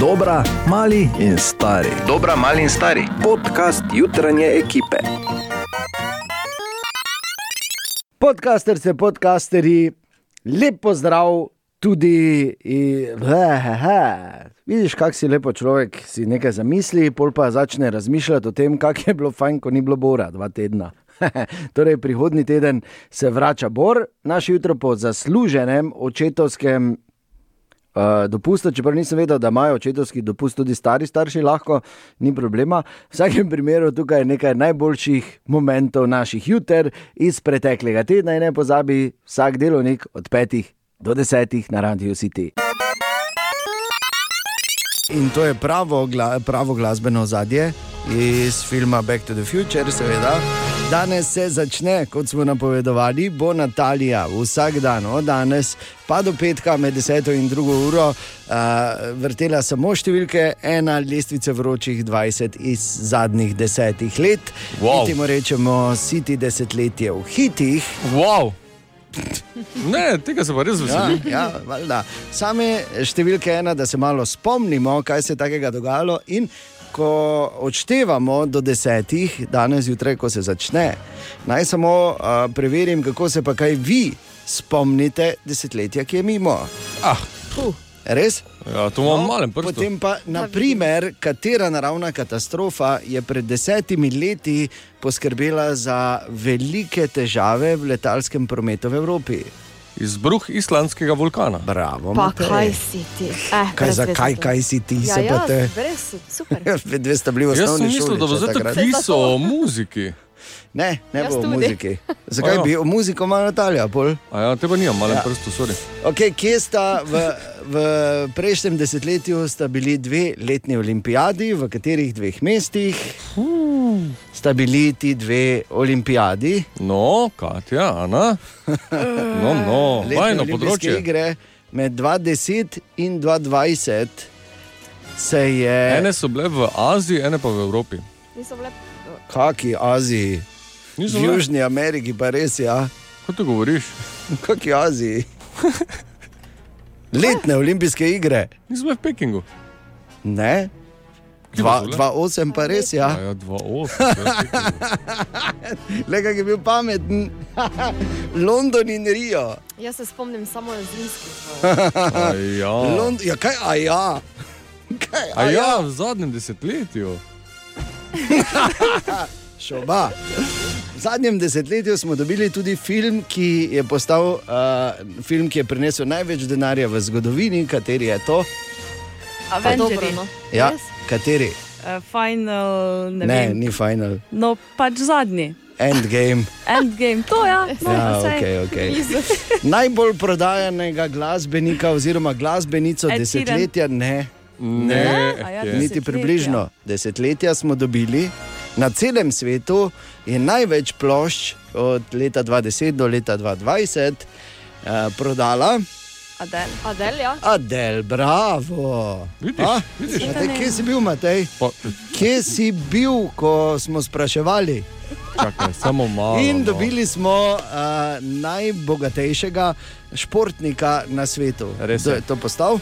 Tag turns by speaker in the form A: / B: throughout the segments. A: Dobra, mali in stari.
B: Dobra, mali in stari.
A: Podcast jutranje ekipe.
C: Podcasterce, podcasteri, lep pozdrav tudi. i- Ehehe. Vidiš, kak si lepo človek, si nekaj zamisli, pol pa začne razmišljati o tem, kak je bilo fajn, ko ni bilo Bora dva tedna. torej, prihodni teden se vrača Bor, naš jutro po zasluženem očetovskem Uh, dopusta, čeprav nisem vedel, da imajo očetovski dopust tudi stari starši, lahko ni problema. V vsakem primeru tukaj je nekaj najboljših momentov naših juter iz preteklega tedna in ne pozabi vsak delovnik od petih do desetih na Radio City. In to je pravo, gla, pravo glasbeno zadje iz filma Back to the Future, seveda. Danes se začne, kot smo napovedovali, bo Natalija vsak dan, od danes pa do petka med 10 in 2 uro, uh, vrtela samo številke ena lestvice vročih 20 iz zadnjih desetih let.
D: Wow.
C: Mi Temu rečemo siti desetletje v hitih.
D: Wow. Ne, tega se pa res
C: Ja,
D: veselim.
C: ja, valjda. Same številke ena, da se malo spomnimo, kaj se je takega dogajalo. In ko odštevamo do desetih, danes zjutraj, ko se začne, naj samo uh, preverim, kako se pa kaj vi spomnite desetletja, ki je mimo.
D: Ah,
C: Res?
D: ja, to imam no, malen prst. Potem...
C: Potem pa, naprimer, katera naravna katastrofa je pred desetimi leti poskrbela za velike težave v letalskem prometu v Evropi?
D: Izbruh islandskega vulkana.
C: Bravo,
E: Pa
C: Matej.
E: kaj si ti? Eh,
C: Kaj
E: brez
C: za
E: veze
C: kaj,
E: to.
C: kaj si ti,
E: Ja,
C: se pa
E: ja,
C: te.
E: Res, super.
C: Ja, Dve sta bili v
D: Jaz sem
C: osnovni
D: mislil,
C: šoli.
D: da bo
C: še
D: zdaj
C: takrat.
D: tako pisal o muziki.
C: Ne, ne
E: Jaz
C: bo o
E: tudi.
C: muziki. Zakaj
D: Ajo.
C: bi o muziko malo Natalija? Pol?
D: A ja, tebe nimam, malen
C: Ja.
D: ja. prst, sorry.
C: Okay, kje sta v, v prejšnjem desetletju sta bili dve letni olimpijadi, v katerih dveh mestih sta bili ti dve olimpijadi?
D: No, Katja, Ana. No, no, vajno
C: olimpijske
D: področje.
C: igre med 2010 in 2020 se je.
D: Ene so bile v Aziji, ene pa v Evropi.
E: Niso bile-
C: Kaki Aziji,
D: Niso
C: v
D: bile.
C: Južni Ameriki, pa res ja.
D: Kaj ti govoriš?
C: Kakšni Aziji? Letne olimpijske igre,
D: Niso bile v Pekingu.
C: ne?
D: Kje
C: Dva-
D: so bile?
C: 2-8 pa res,
D: A
C: ja.
D: ja, 2-8.
C: Le kak je bil pameten. London in Rio.
E: Jaz se spomnim samo zimskih.
D: Ja.
C: Lond ja, kaj, a ja. Kaj, a
D: A
C: ja.
D: ja, v zadnjem desetletju.
C: Šoba. V zadnjem desetletju smo dobili tudi film, ki je postal uh, film, ki je prinesel največ denarja v zgodovini, kateri je to.
E: Dobro,
F: Avengers.
E: no.
C: Ja,
E: Res?
C: kateri?
F: Eh, Final, ne,
C: Ne,
F: ne
C: ni final.
F: no pač zadnji.
C: Endgame.
F: Endgame, to ja, no,
C: Ja,
F: vse.
C: okay, okay. Najbolj prodajanega glasbenika oziroma glasbenico
F: Ed Sheeran.
C: desetletja, ne,
D: Ne,
F: A ja,
D: je.
F: deset-
C: niti
F: Desetletja.
C: približno. Desetletja smo dobili. Na celem svetu je največ plošč od leta 2010 do leta 2020 eh, prodala
F: Adele.
E: Adel, ja.
C: Adel, bravo.
D: Vidiš,
C: A?
D: vidiš.
C: Matej, kje si bil, Matej?
D: Pa,
C: Kje si bil, ko smo spraševali?
D: čakaj, samo malo.
C: In
D: no.
C: dobili smo uh, najbogatejšega športnika na svetu.
D: Res
C: Kdo
D: je.
C: je to postal?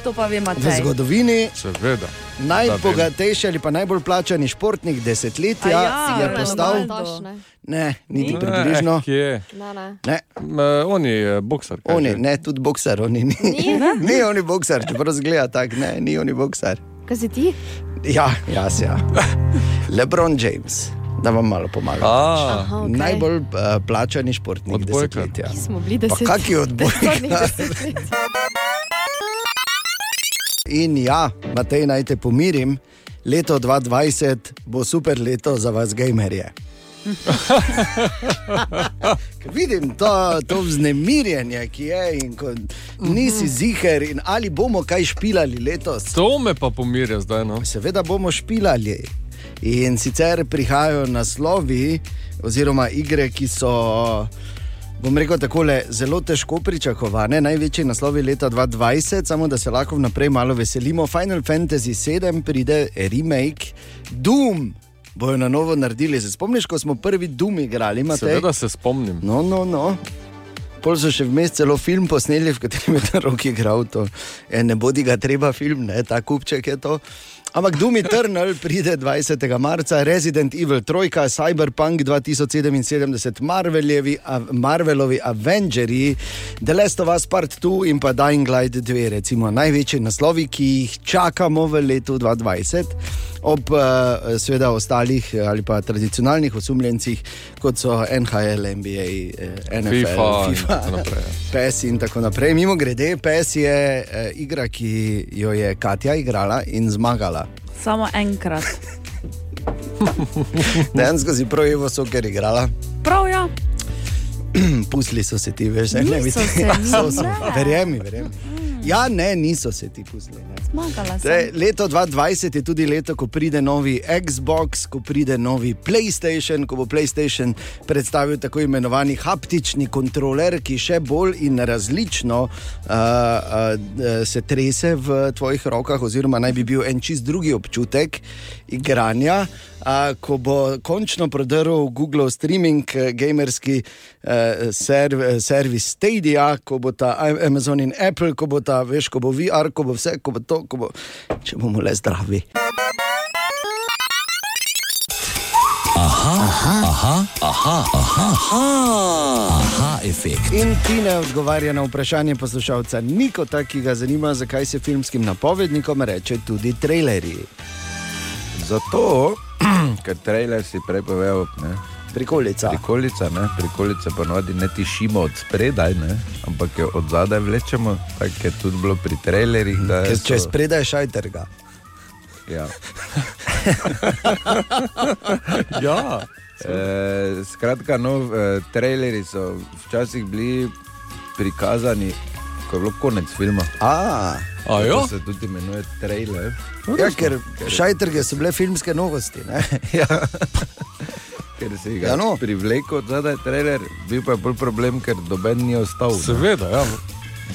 F: To pa vem,
C: V
F: Matej.
C: zgodovini
D: Seveda.
C: najbogatejši ali pa najbolj plačani športnik desetletja
F: A ja,
C: je
F: Ronaldo.
C: postal.
F: Ronaldo.
E: Nogometaš, Ne,
C: Ne, niti
F: Ni?
C: približno.
D: Ne, Kje?
E: ne, ne.
C: Ne,
D: E, on je boksar. kaj
C: on je,
D: že?
C: ne, tudi boksar, on je ni. Ni on je boksar, čeprav zgleda tako, ne, ni on je boksar.
E: Kaj si ti?
C: Ja, jaz ja. Lebron James, da vam malo pomaga.
D: A,
E: Aha, okej.
C: Najbolj uh, plačani športnik
D: Odbojkar.
C: desetletja.
E: Ki smo bili
C: Pa
E: deset.
C: kaki odboj?
E: Zadnjih deset let.
C: In ja, Matej, naj te pomirim, leto 2020 bo super leto za vas, gamerje. Ker vidim to, to vznemirjenje, ki je, in ko nisi ziger, in ali bomo kaj špilali letos.
D: to me pa pomirja zdaj. No.
C: Seveda bomo špilali. In sicer prihajajo naslovi, oziroma igre, ki so, bom rekel, tako zelo težko pričakovane. Največji naslovi leta 2020, samo da se lahko vnaprej malo veselimo. Final Fantasy 7 pride remake, Doom bojo na novo naredili. Se spomniš, ko smo prvi Doom igrali, Matej?
D: Seveda se spomnim.
C: No, no, no. Pol so še vmes celo film posneli, v katerem je ta rok igral. To. E, ne bodi ga treba film, ne, ta kupček je to. Ampak Doom Eternal pride 20. marca, Resident Evil 3, Cyberpunk 2077, Marveljevi, a, Marvelovi Avengerji, The Last of Us Part 2 in pa Dying Light 2, recimo največji naslovi, ki jih čakamo v letu 2020 ob eh, seveda ostalih eh, ali pa tradicionalnih osumljencih, kot so NHL, NBA, eh, NFL,
D: FIFA in
C: FIFA
D: tako naprej.
C: PES in tako naprej. Mimo grede, PES je eh, igra, ki jo je Katja igrala in zmagala.
F: Samo enkrat.
C: Dejansko si prav Evo Soker igrala,
F: Prav ja,
C: pusli so se ti, veš, zdaj ne bi
F: Niso se mi,
C: So, so.
F: ne.
C: Verjemi, verjemi. Ja, ne, niso se ti pusli. Ne.
F: zmagala
C: Te,
F: sem.
C: leto 2020 je tudi leto, ko pride novi Xbox, ko pride novi PlayStation, ko bo PlayStation predstavil tako imenovani haptični kontroler, ki še bolj in različno uh, uh, se trese v tvojih rokah, oziroma naj bi bil en čist drugi občutek igranja. Uh, ko bo končno prodrl Google streaming, eh, gamerski eh, serv, eh, servis Stadia, ko bo ta A- Amazon in Apple, ko bo ta, veš, ko bo VR, ko bo vse, ko bo to, ko bo, če bomo le zdravi.
G: efekt.
C: In ti ne odgovarja na vprašanje poslušalca Niko, ta, ki ga zanima, zakaj se filmskim napovednikom reče tudi trailerji.
A: Zato, ker trailer si prej povedal, ne,
C: Prikolica.
A: prikolica, ne, prikolica ponovadi ne tišimo od spredaj, ne, ampak jo od zadaj vlečemo, tako je tudi bilo pri trailerjih. da
C: Ker
A: so-
C: če spredaj šajterga.
A: Ja.
D: Ja,
A: E, skratka, no, e, trailerji so včasih bili prikazani, ko je bilo konec filma.
C: A,
D: a jo?
A: To se tudi imenuje trailer.
C: ja, ker Ja. šajterge so bile filmske novosti. Ne?
A: Ker si ga
C: Ja,
A: ja,
C: no.
A: no. privlekel, zadaj je trailer, bil pa je bolj problem, ker doben ni ostal. ne.
D: seveda, ja.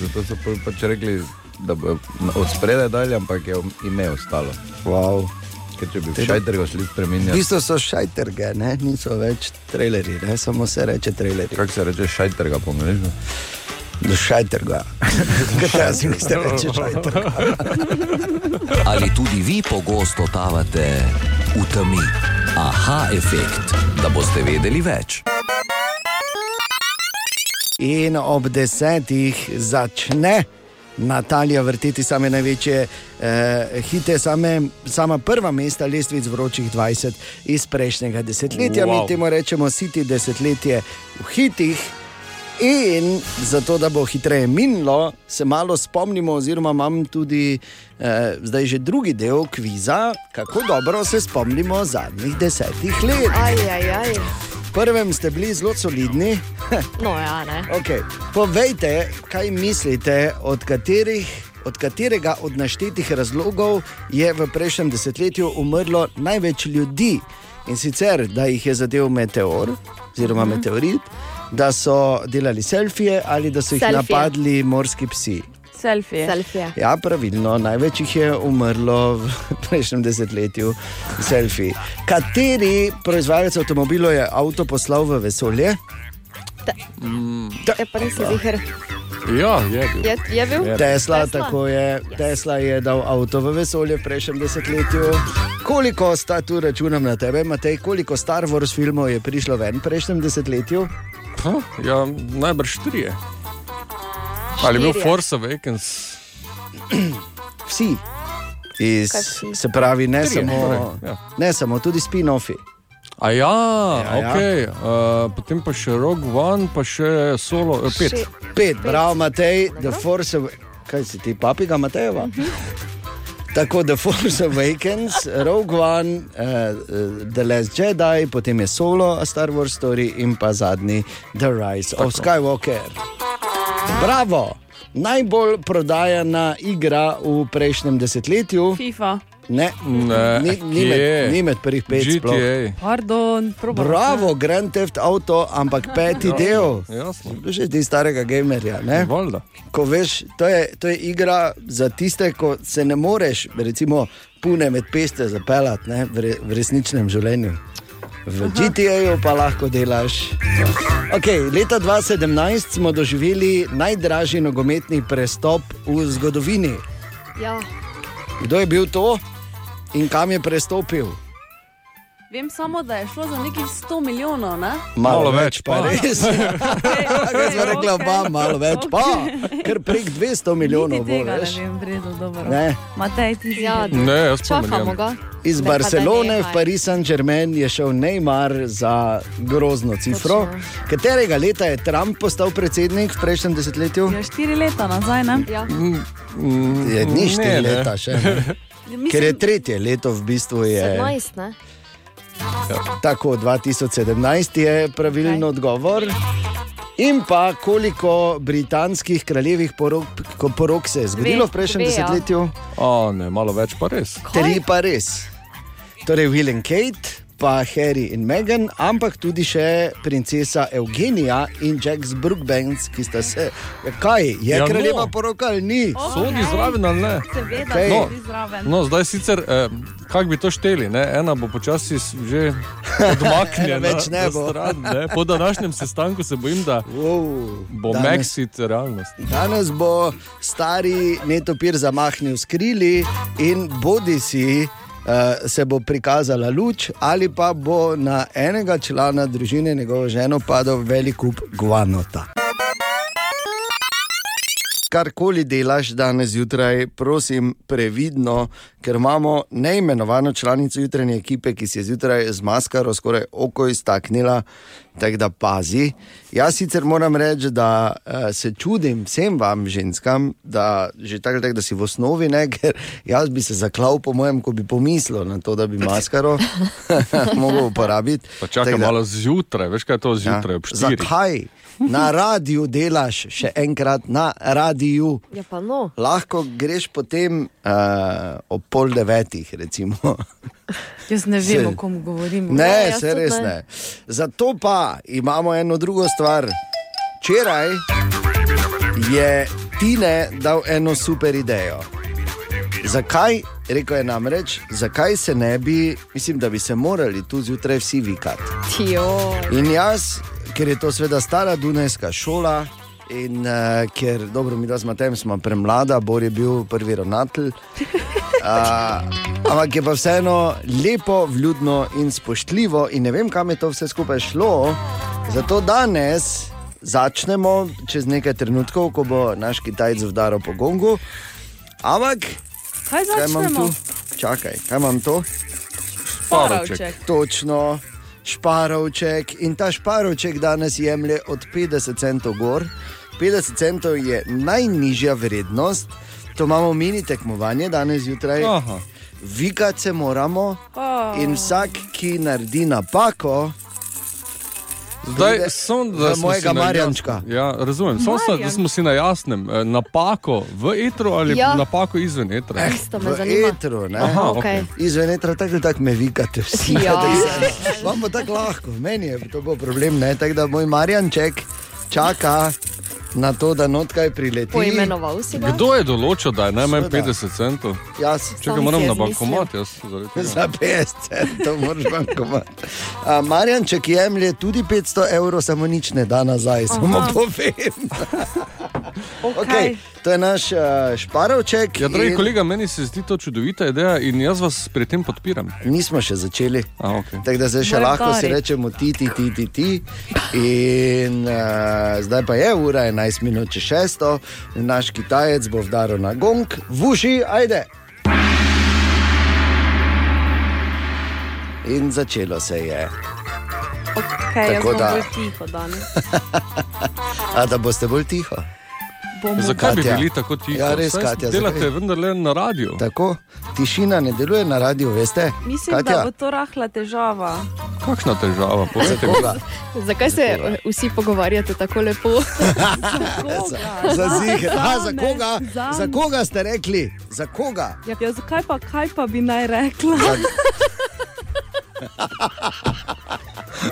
A: Zato so pol pač rekli, da bo od spredaj dalje, ampak je ime ostalo.
C: Wow.
A: Ker če bi vsaj drgo šli
C: V
A: spremenjati.
C: bistvu so šajterge, ne? niso več trailerji, ne? samo se reče trailerji.
A: Kako se reče šajtrga po angliško?
C: Do šajterga. Kaj se mi ste reče šajterga?
H: Ja.
G: Ali tudi vi pogosto totavate v temi? Aha, efekt, da boste vedeli več.
C: In ob desetih začne Natalija vrteti same največje eh, hite, same, sama prva mesta lestvic vročih 20 iz prejšnjega desetletja. Wow. Mi
D: Wow.
C: temu rečemo siti desetletje v hitih. In zato, da bo hitreje minilo, se malo spomnimo, oziroma imam tudi eh, zdaj že drugi del kviza, kako dobro se spomnimo zadnjih desetih let.
E: Aj, aj, aj.
C: V prvem ste bili zelo solidni,
E: No, ja, ne.
C: Okay. Povejte, kaj mislite, od, katerih, od katerega od naštetih razlogov je v prejšnjem desetletju umrlo največ ljudi. In sicer, da jih je zadev meteor,
E: Mhm.
C: oziroma meteorit, da so delali selfije ali da so jih
E: Selfije.
C: napadli morski psi.
F: Selfie.
E: Selfie.
C: Ja, pravilno, največ jih je umrlo v prejšnjem desetletju, selfiji. Kateri proizvajalec avtomobilov je avto poslal v vesolje?
E: E, pa nisi zihar.
D: Ja, je bil.
E: Je, je bil?
C: Tesla, Tesla.
E: Tesla.
C: tako je. Tesla je dal avto v vesolje v prejšnjem desetletju. Koliko sta tu računam na tebe, Matej, koliko Star Wars filmov je prišlo ven v prejšnjem desetletju?
D: Ha, ja, najbrž trije. Ali je bil
E: Štirje.
D: Force Awakens?
C: Vsi. Iz,
E: Kaj vsi?
C: se pravi, ne
D: Trije,
C: samo,
D: torej, ja.
C: ne samo, tudi spin-offi.
D: A ja,
C: Ja, ja.
D: ok. Uh, potem pa še Rogue One, pa še Solo, eh, pet.
E: Še-
C: Pet, bravo, Matej, The Force of... Kaj si ti, papiga Matejeva? Tako The Force Awakens, Rogue One, uh, The Last Jedi, potem je Solo, A Star Wars Story in pa zadnji The Rise Tako. of Skywalker. Bravo! Najbolj prodajana igra v prejšnjem desetletju,
F: FIFA.
C: ne,
D: Ne,
C: ni, ni, med,
D: kje?
C: ni med prvih pet. Sploh.
D: GTA.
F: Pardon, probam.
C: Bravo, Grand Theft Auto, ampak peti
D: Ja.
C: del.
D: Jasno.
C: Že ti starega gamerja, ne?
D: Valjda.
C: ko veš, to je, to je igra za tiste, ko se ne moreš, recimo, pune med peste zapeljati ne, v, re, v resničnem življenju. v GTA-ju pa lahko delaš. Okay, leta 2017 smo doživeli najdražji nogometni prestop v zgodovini.
E: Ja,
C: Kdo je bil to in kam je prestopil?
F: Vem samo, da je šlo za nekih 100 milijonov, ne?
D: Malo več
C: pa
D: pa.
C: res. Kaj smo rekli, oba, malo več pa, ker prek 200 milijonov
F: Niti
C: No, bo
F: tega ne
C: več.
F: vem, vredno dobro.
C: Ne.
F: Matej, ti si.
E: ja
D: Ne, jaz pa ne
E: čakamo
D: vem.
E: ga.
C: Iz
E: Ne, pa da
C: Barcelone v
E: nehaj.
C: Paris Saint-Germain je šel Neymar za grozno cifro.
E: Točno.
C: Katerega leta je Trump postal predsednik v prejšnjem desetletju?
F: Ja, štiri leta nazaj, ne?
E: Ja.
C: Je ni
D: Ne,
C: štiri
D: ne.
C: leta še. Ne?
F: Mislim,
C: Ker je tretje leto v bistvu je
E: 17, ne?
C: tako, 2017 je pravilen
F: Kaj?
C: odgovor. In pa koliko britanskih kraljevih porok, ko- porok se je zgodilo
E: Dve,
C: v prejšnjem
E: dve, ja.
C: desetletju?
D: A ne, malo več pa res.
C: Tri pa res. Torej, Will in Kate, pa Harry in Meghan, ampak tudi še princesa Eugenija in Jack Brookbanks, ki sta se. Kaj je
D: Ja,
C: ja,
D: no.
C: kraljeva no. poroka ali ni?
F: Ok,
D: Sodi zraven ali ne?
F: Seveda,
C: Okej.
F: no. zraven.
D: No, zdaj sicer, eh, kako bi to šteli, ne? ena bo počasi s- že odmaknjena.
C: Ena več ne
D: na
C: bo.
D: Stran, ne? Po današnjem sestanku se bojim, da
C: Wow,
D: bo
C: danes,
D: Mexit realnost.
C: danes bo stari netopir zamahnil s krili in bodi si. Uh, se bo prikazala luč, ali pa bo na enega člana družine, njegovo ženo, padel velik kup guanota. Karkoli delaš danes zjutraj, prosim, previdno, ker imamo neimenovano članico jutranje ekipe, ki si je zjutraj z maskaro skoraj oko iztaknila, tako da pazi. Jaz sicer moram reči, da eh, se čudim vsem vam, ženskam, da že tako ali tako, da si v osnovi ne, ker jaz bi se zaklal, po mojem, ko bi pomislil na to, da bi maskaro mogel uporabiti.
D: Pa čakaj
C: Tako da- Ja.
D: malo zjutraj, veš kaj je to zjutraj, ob 4.
C: Zakaj na radiju delaš, še enkrat na radiju?
E: Ja, pa no.
C: Lahko greš potem uh, ob pol devetih, recimo.
F: Jaz ne vem,
C: Se-
F: o kom govorim.
C: ne,
E: jaz
C: se
E: tudi
C: res
E: Ja, ne.
C: ne. Zato pa imamo eno drugo stvar. Včeraj je Tine dal eno super idejo. Zakaj, rekel je namreč, zakaj se ne bi, mislim, da bi se morali tu zjutraj vsi vikati.
E: Tijo.
C: In jaz, ker je to seveda stara Dunajska šola in uh, ker dobro mi da smo tem, smo premlada, Bor je bil prvi ravnatelj. Uh, ampak je pa vseeno lepo, vljudno in spoštljivo, in ne vem, kam je to vse skupaj šlo. Zato danes začnemo, čez nekaj trenutkov, ko bo naš Kitajc vdaril po gongu. Ampak,
F: Kaj
C: kaj imam tu?
F: začnemo?
C: Čakaj, kaj imam tu?
F: Paravček.
C: Točno, šparovček in ta šparovček danes jemlje od 50 centov gor. 50 centov je najnižja vrednost, to imamo mini tekmovanje danes zjutraj.
D: Aha.
C: Vikati se moramo
F: Oh.
C: in vsak, ki naredi napako,
D: Zdaj,
C: Pride
D: sem,
C: za
D: da smo
C: mojega
D: si na
C: Marjančka.
D: jasnem. Ja, razumem, sem, sem, da smo si na jasnem. Eh, Napako v etru ali ja.
E: Ja.
D: napako izven etra. Eh.
E: Isto me
C: v
E: zanima.
C: etru, ne?
D: Aha,
E: okej.
D: ok.
C: Izven etra, tako ali tako me vikate vsi.
E: Ja.
C: tako vseeno. Vam bo tako lahko, meni je to bo problem, ne? Tako da moj Marjanček čaka na to, da notkaj prileti.
E: Poimenoval si ga?
D: Kdo je določil, da je najmanj
C: Seveda.
D: 50 centov?
C: Jaz.
D: Čakaj,
E: Sam
D: moram
E: si
D: na
E: je
D: bankomat, jaz zaradi tega.
C: Za 50, to moraš bankomat. A Marjan, če ki jemlje tudi 500 evrov, samo nič ne da nazaj, samo Aha. povem. Okay, to je naš uh, šparovček.
D: Ja, dragi
C: in
D: kolega, meni se zdi to čudovita ideja in jaz vas pri tem podpiram.
C: Nismo še začeli.
D: A, okay.
C: Tako da zdaj še
F: Moj
C: lahko si
F: Bari.
C: rečemo ti, ti, ti, ti. ti. In uh, zdaj pa je ura 11 minut čez šesto, naš Kitajec bo vdaril na gong, vuši, ajde. In začelo se je.
F: Okay, jaz
C: Tako
F: bom
C: da-
F: bolj tiho danes.
C: A da boste bolj tiho.
F: Bomo
D: Zakaj bi
C: Katja.
D: bili tako tiho?
C: Ja, res,
D: Saj
C: Katja,
D: Delate
C: zakaj?
D: vendarle na radiju.
C: Tako, tišina ne deluje na radiju, veste?
F: Mislim, Katja. da bo to rahla težava.
D: Kakšna težava? Povejte mi.
C: Koga?
E: Zakaj se vsi pogovarjate tako lepo?
F: Koga?
C: Za zig, a za
F: Zame,
C: koga?
F: zame.
C: Za koga ste rekli? Za koga?
F: Ja, ja, zakaj pa, kaj pa bi naj rekla?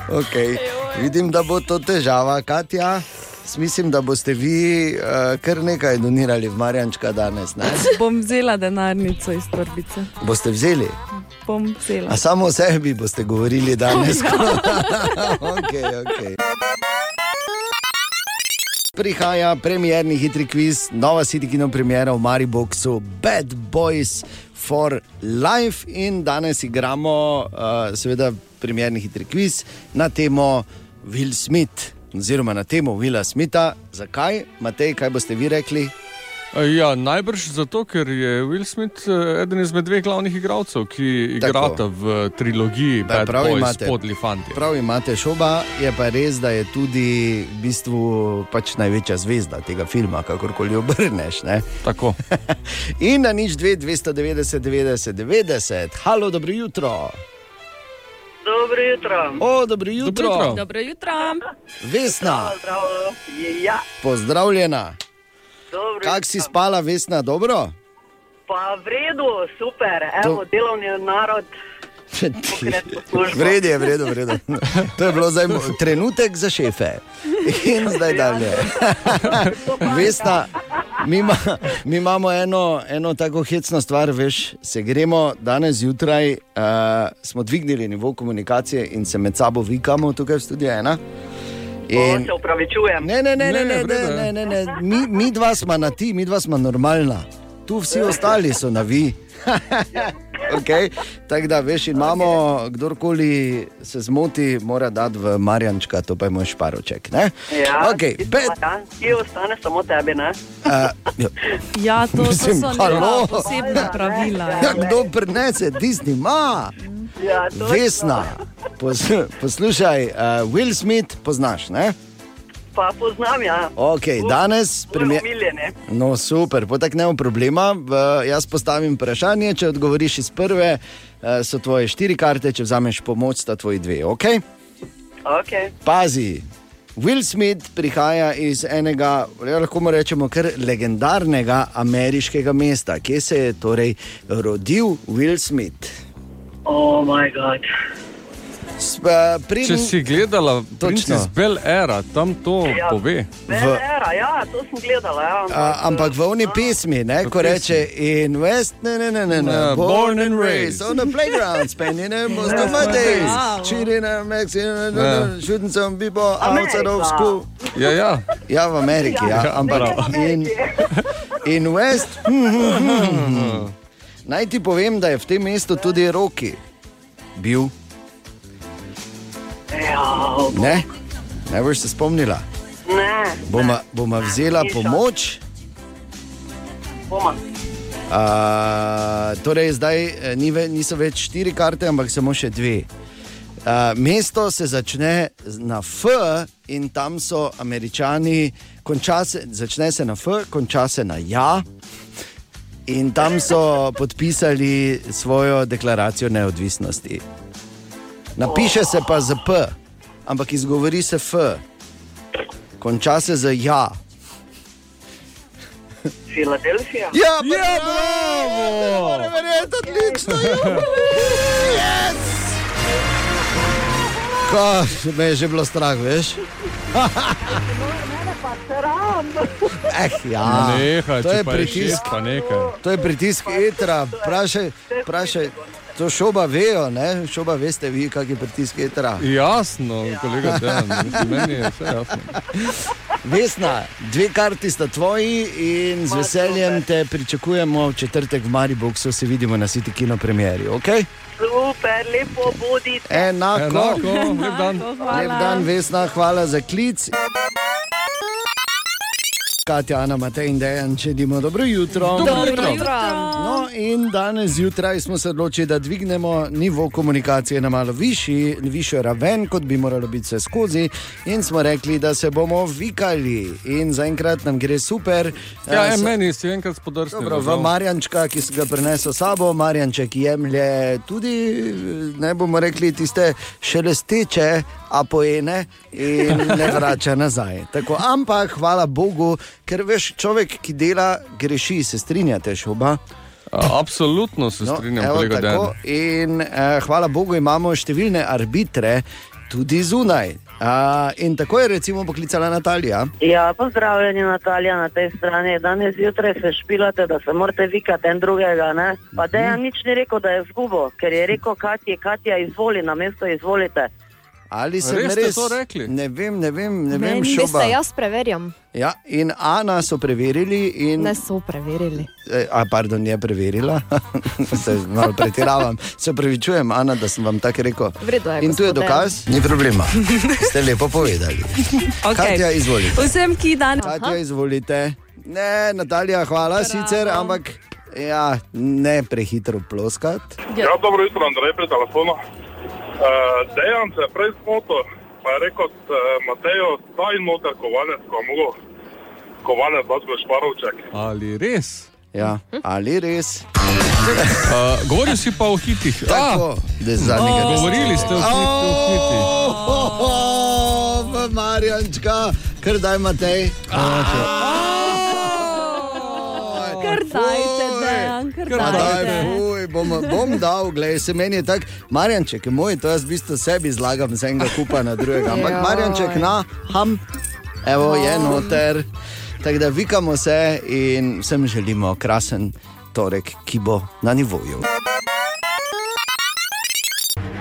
C: Okay. Vidim, da bo to težava, Katja. Jaz Mislim, da boste vi uh, kar nekaj donirali v Marjančka danes. Ne?
F: Bom vzela denarnico iz torbice.
C: Boste vzeli,
F: Bom vzela.
C: a samo o sebi boste govorili danes.
A: Oh, ja.
C: okay, okay. Prihaja premjerni hitri kviz, nova City Kino premjera v Mariboku, Bad Boys for Life in danes igramo, uh, seveda, premjerni hitri kviz na temo Will Smith, oziroma na temo Willa Smitha. Zakaj, Matej, kaj boste vi rekli?
D: Ja, najbrž zato, ker je Will Smith eh, eden izmed dveh glavnih igralcev, ki
C: Tako.
D: igrata v trilogiji
C: Da,
D: Bad
C: prav
D: Boys,
C: imate.
D: podli fanti.
C: Prav imate šoba, je pa res, da je tudi v bistvu pač največja zvezda tega filma, kakorkoli obrneš. Ne?
D: Tako.
C: In na nič 2, 290, 90, 90, halo, dobro jutro.
E: Dobro jutro.
C: O, dobro jutro,
D: Dobro jutro.
F: Dobro jutro.
C: vesna,
E: Zdravo. Ja,
C: pozdravljena.
E: dobro.
C: Kak si spala, vesna, dobro?
E: Pa v redu, super. Evo,
C: To-
E: delovni narod.
C: V redu je, v redu, v redu. To je bilo zdaj mo- trenutek za šefe. In zdaj dalje. Vesna, mi, ima, mi imamo eno, eno tako hecno stvar, veš, se gremo danes zjutraj, uh, smo dvignili nivo komunikacije in se med sabo vikamo tukaj v studiu ena.
E: In...
C: In,
E: Se upravičujem.
C: ne, ne, ne,
D: Ne,
C: ne, ne,
D: v
C: ne,
D: redu je.
C: ne, ne, ne. Mi, mi dva smo na ti, mi dva smo normalna. Tu vsi ostali so na vi. okay. Tako da veš, in imamo, okay. kdorkoli se zmoti, mora dati v Marjančka, to pa je moj šparoček. Ne?
E: Ja,
C: okay.
E: tisto,
C: Bet,
E: ja, Ki ostane samo tebi, ne?
C: uh,
F: Ja, to, to
C: Mislim, no.
F: so
C: halo.
F: neka posebna pravila. ja.
C: kdo prenese, Disney ima,
E: Ja, to
C: vesna. Pos, poslušaj, uh, Will Smith poznaš, ne?
E: Pa poznam, ja.
C: Okay, danes
E: Premje...
C: premjer. No, super, potek ne bo problema. V- Jaz postavim vprašanje, če odgovoriš iz prve, eh, so tvoje štiri karte, če vzameš pomoč, sta tvoji dve. Okay?
E: Okay.
C: Pazi, Will Smith prihaja iz enega, ja, lahko mu rečemo, kar legendarnega ameriškega mesta, kje se je torej rodil Will Smith.
E: Oh, moj bog.
C: S- eh, pridn-
D: Če si gledala Princess Bel Era, tam to
E: Ja.
D: pove.
C: V-
E: Vera, ja, to sem gledala. Ja,
C: A, ampak v oni pesmi, ne, ko
D: pesmi.
C: reče in West, ne, ne, ne, ne, ne
D: Ne,
C: born
D: born
C: and
D: and
C: raised
D: raised.
C: on the playground, spending the most of my days, cheating and
D: Ja.
C: maxing, shooting some people outside of
E: Amerika.
C: school.
D: Ja, ja.
C: Ja, v Ameriki, ja,
D: Ja,
C: ampak
D: prav.
C: in, in West. hm, hm, hm, hm. Naj ti povem, da je v tem mestu tudi Roki bil,
E: ja,
C: ne? Ne boš se spomnila.
E: ne,
C: Boma, boma vzela pomoč.
E: boma.
C: Uh, torej, zdaj eh, ni ve, niso več štiri karte, ampak samo še dve. Uh, mesto se začne z- na F, in tam so američani, konča se, začne se na F, konča se na Ja. In tam so podpisali svojo deklaracijo neodvisnosti. Napiše se pa z P, ampak izgovori se F, konča se z Ja.
E: Filadelfija.
C: Ja, bravo! Moram verjeti, odlično je. Yes! Ko, me je že bilo strah, veš? Eh, ja.
D: Nehaj,
C: to je
D: če pa je
C: pritisk.
D: šest, pa nekaj.
C: To je pritisk etra, vprašaj, vprašaj. To šoba vejo, ne? Šoba veste vi, kak je pritisk etra.
D: Jasno, kolega Dejan, mislim, meni je vse jasno.
C: Vesna, dve karti sta tvoji in z veseljem te pričakujemo v četrtek v Mariboku, se vidimo na City Kino premjeri, ok?
E: Super, lepo bodi.
C: Enako.
D: Enako, lep dan.
C: Lep dan, Vesna, hvala za klic. Katja, Ana, Matej in Dejan, če dimo dobro jutro.
F: Dobro jutro.
C: No, in danes zjutraj smo se odločili, da dvignemo nivo komunikacije na malo višji, višjo raven, kot bi moralo biti vse skozi. In smo rekli, da se bomo vikali. In zaenkrat nam gre super.
D: Ja,
C: Eh,
D: je,
C: so-
D: meni si enkrat podrsnil.
C: Dobro, v
D: žal.
C: Marjančka, ki so ga prenesli s sabo, Marjanček jemlje tudi, ne bomo rekli, tiste šelesteče apoene in ne vrača nazaj. Tako, ampak hvala Bogu, ker veš, človek, ki dela, greši, se strinjate, šoba.
D: A, Absolutno se strinjam,
C: No, evo,
D: kolega Dejan.
C: tako. In eh, hvala Bogu imamo številne arbitre tudi zunaj. Eh, Uh, in tako je recimo poklicala Natalija.
H: Ja, pozdravljeni, Natalija, na tej strani. Danes zjutraj se špilate, da se morate vikati en drugega. Ne?
C: Mhm.
H: Pa dejan nič ni rekel, da je zgubo, ker je rekel Katja, Katja, izvoli, na mesto izvolite.
C: Ali se
D: Res ste
C: res
D: to rekli?
C: Ne vem, ne vem, ne vem,
E: Meni
C: šoba.
E: se jaz preverjam.
C: Ja, in Ana so preverili, in,
E: Ne so preverili.
C: eh, a, pardon, je preverila, se malo pretiravam. Se upravičujem, Ana, da sem vam tako rekel.
E: V redu je,
C: in tu je
E: gospod
C: dokaz, ni problema. Ste lepo povedali. Okay. Katja, izvolite.
F: Vsem, ki danes
C: Katja, izvolite. Ne, Natalija, hvala Bravo. sicer, ampak ja, ne prehitro ploskati.
I: Ja, dobro jutro, Andrej, pri telefonu. Uh, Dejan se je prej zmotil, pa je rekel, uh, Matejo, daj noter kovanec, ko je mogel kovanec dati v šparovček.
D: Ali res?
C: Ja, ali res?
D: Uh, govoril si pa o hitih.
C: Tako, da je zadnjega
D: A,
C: res.
D: govorili ste o hitih. O hitih.
C: Oh, Marjančka, kar daj Matej.
F: kar dajte, Dejan, kar
D: Kar
C: Daj,
F: dajte.
C: fuj, bom, bom dal, glej, se meni je tako, Marjanček je moj, to jaz v bistvu sebi zlagam z enega kupa na drugega, ampak
E: Joj.
C: Marjanček na ham, evo je
F: No.
C: noter. Tako da vikamo se in vsem želimo krasen torek, ki bo na nivoju.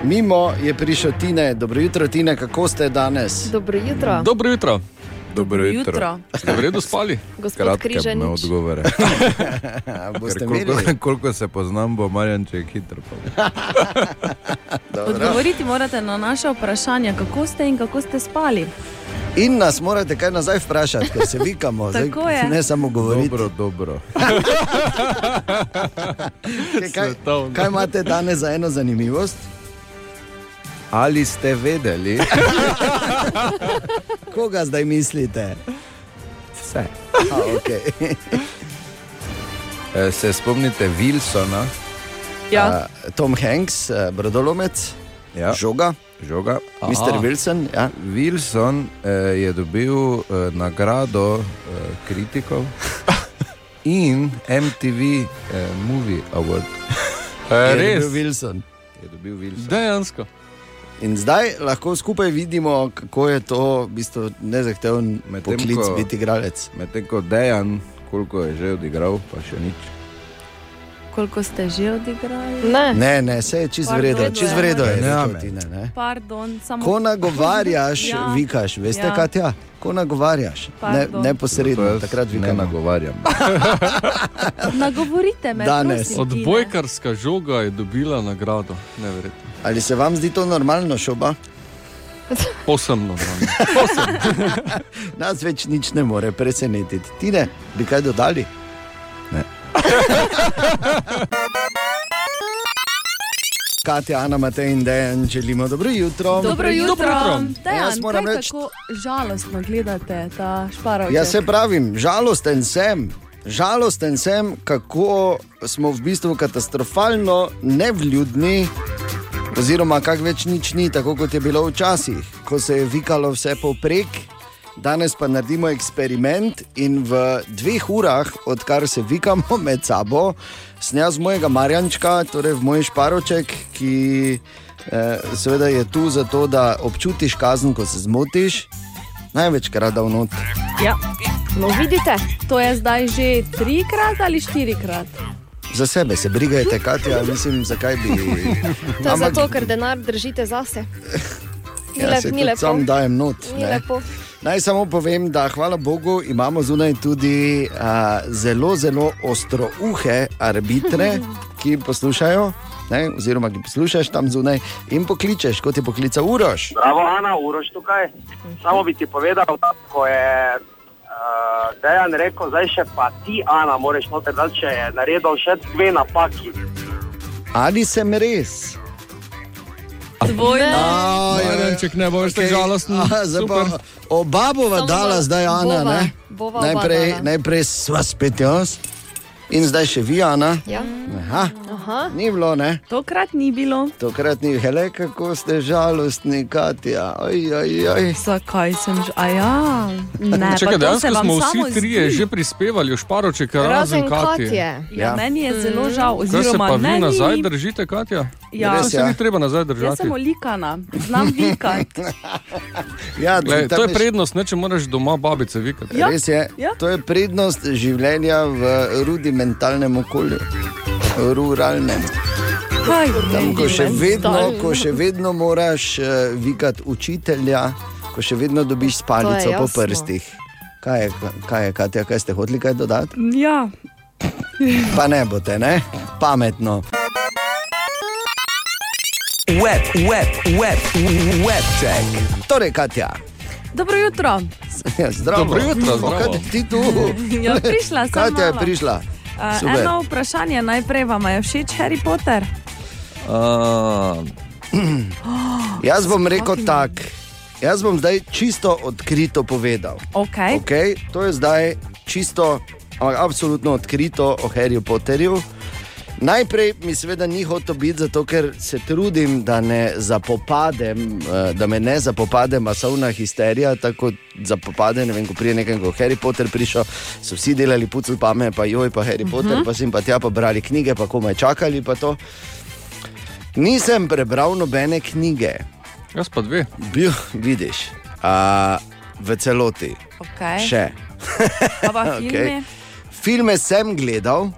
C: Mimo je prišel Tine, dobro jutro, Tine, kako ste danes?
E: Dobro jutro, Do
D: Dobro jutro.
A: Dobro
F: Jutro.
D: Ste v redu spali?
E: gospod
A: Kratke
E: Križan.
A: me odgovore.
C: A
A: Ker
C: Boste
A: koliko,
C: imeli?
A: koliko se poznam, bo Marjanček hitro. povedal.
F: Odgovoriti morate na naše vprašanja, kako ste in kako ste spali.
C: In nas morate kaj nazaj vprašati, ker se vikamo, Zdaj,
F: Tako je.
C: ne samo govoriti.
A: Dobro, dobro.
C: Kaj, kaj,
D: Svetovno.
C: kaj imate danes za eno zanimivost?
A: Ali ste vedeli?
C: Koga zdaj mislite? Vse. A, okay.
A: Eh, Se spomnite Wilsona,
C: ja. Tom Hanks, eh, brodolomec,
A: ja,
C: žoga,
A: žoga.
C: Mr. Wilson. Ja.
A: Wilson eh, je dobil eh, nagrado eh, kritikov in MTV eh, Movie Award.
D: E,
C: je
D: res,
C: dobil Wilson.
A: Je dobil Wilson.
D: dejansko.
C: In zdaj lahko skupaj vidimo, kako je to v bistvu nezahteven
A: Medtem,
C: poklic
A: ko-
C: biti igralec.
A: Medtem ko Dejan, koliko je že odigral, pa še nič.
F: Koliko ste že odigrali?
E: Ne,
C: Ne, ne, vse je čez
F: Pa
C: vredno,
F: vredno
C: čez
F: je.
C: vredno je.
A: Ja, Ne,
C: rekel
A: amen.
C: Tine, ne.
F: Pardon, samo
C: Ko nagovarjaš,
F: Ja.
C: vikaš, veste, ja.
F: Ja.
C: kaj ja. Ko nagovarjaš, ne,
F: Pardon.
A: Zato
C: neposredno,
A: jaz
C: takrat
A: ne
C: vikaš.
A: nagovarjam.
F: nagovorite me.
C: Danes.
F: prosim, Tine.
D: Odbojkarska žoga je dobila nagrado, neverjetno.
C: Ali se vam zdi to normalno, šoba?
D: Osemno.
C: Nas več nič ne more presenetiti. Ti ne, bi kaj dodali? Ne. Katja, Ana, Matej in Dejan, želimo dobro jutro.
F: Dobro jutro.
D: jutro.
F: Dejan,
C: Jaz moram
F: kaj
C: reči-
F: tako žalostno gledate ta šparov.
C: Jaz se Ja, pravim, žalosten sem. Žalosten sem, kako smo v bistvu katastrofalno nevljudni, oziroma kako več nič ni, tako kot je bilo včasih, ko se je vikalo vse povprek. Danes pa naredimo eksperiment in v dveh urah, odkar se vikamo med sabo, snja z mojega Marjančka, torej v moj šparoček, ki eh, seveda je tu zato, da občutiš kazen, ko se zmotiš, največkrat da vnot.
F: Ja.
E: no vidite,
F: To je zdaj že trikrat ali štirikrat.
C: Za sebe se brigajte, Katja, mislim, zakaj bi. ja,
E: to je zato, ker denar držite zase. Ni, lep, ni
C: saj tudi
E: lepo.
C: Sam dajem not.
E: Ni
C: ne.
E: lepo.
C: Naj samo povem, da hvala Bogu imamo zunaj tudi a, zelo, zelo ostrouhe arbitre, ki poslušajo. Ne, oziroma, ki poslušaš tam zunaj in pokličeš, kot je poklical Uroš.
I: Bravo, Ana, uroš tukaj. Samo bi ti povedal, da ko je uh, Dejan rekel, zdaj še pa ti, Ana, moraš noter dati, če je naredil še dve napaki.
C: Ali sem res?
F: Dvojno.
D: Marjanček, ne boš okay. žalosten.
C: Aha, zdaj pa
D: Super.
C: Oba bova
E: Samo
C: dala,
E: bova-
C: zdaj Ana.
E: bova-
C: ne?
E: bova oba
C: najprej,
E: dala.
C: najprej sva spet jaz in zdaj še vi, Ana.
E: Ja.
F: Mm.
C: Aha,
E: Aha.
C: ni bilo, ne?
F: Tokrat ni bilo.
C: Tokrat ni hele, kako ste žalostni, Katja. Oj, oj, oj.
F: Zakaj sem že? A ja, ne,
D: Čakaj,
F: pa to se
D: dejansko
F: vam
D: smo
F: samo
D: vsi trije
F: zdi.
D: že prispevali v šparoček, razen
E: Razen kot
D: Katje.
E: je.
F: Ja,
C: Ja.
F: meni je zelo žal,
D: Kaj se
F: oziroma
D: pa
F: ne,
D: vi
F: ni
D: nazaj
F: mi-
D: držite, Katja?
F: Ja.
D: Res, se ni treba nazaj
F: Jaz
D: držati.
F: sem olikana, znam vikati.
C: Ja,
D: Glej,
C: tam
D: to je
C: je-
D: prednost, ne, če moraš doma babice vikati.
C: Ja. Res je.
F: Ja.
C: Ja. To je prednost življenja v rudimentalnem okolju, ruralnem.
F: Kaj,
C: Tam, ko še vedno, ko še vedno moraš eh, vikati učitelja, ko še vedno
F: To
C: dobiš
F: je
C: spalico po
F: jasno.
C: prstih. Kaj je, kaj je, Katja, kaj ste hoteli kaj dodati?
F: Ja.
C: Pa ne boste, ne? Pametno.
G: Web, web, web, web check.
C: Torej, Katja.
F: Dobro jutro.
C: Ja, Zdravo.
F: Dobro jutro,
C: Pa
F: zdravo.
C: Kaj ti- ti tu?
F: Ja, prišla sem
C: Katja je
F: malo.
C: prišla.
F: Eh,
C: Super.
F: eno vprašanje najprej vam je všeč Harry Potter.
C: Uh, jaz bom rekel tako. Jaz bom zdaj čisto odkrito povedal.
F: Okay.
C: Okay, to je zdaj čisto, ampak absolutno odkrito o Harryju Potterju. Najprej mi seveda ni hotel biti, zato ker se trudim, da, ne zapopadem, eh, da me ne zapopade masovna histerija, tako kot zapopade, ne vem, ko prije nekaj, ko je Harry Potter prišel, so vsi delali pucel pame, pa joj, pa Harry Potter,
J: Mhm.
C: pa sem pa tja, pa brali knjige, pa komaj čakali, pa to. Nisem prebral nobene knjige.
D: Jaz pa dve.
C: Bil, vidiš, a, v celoti.
F: Okay.
C: Še.
F: Ampak
C: Okej.
F: filmi.
C: Filme sem gledal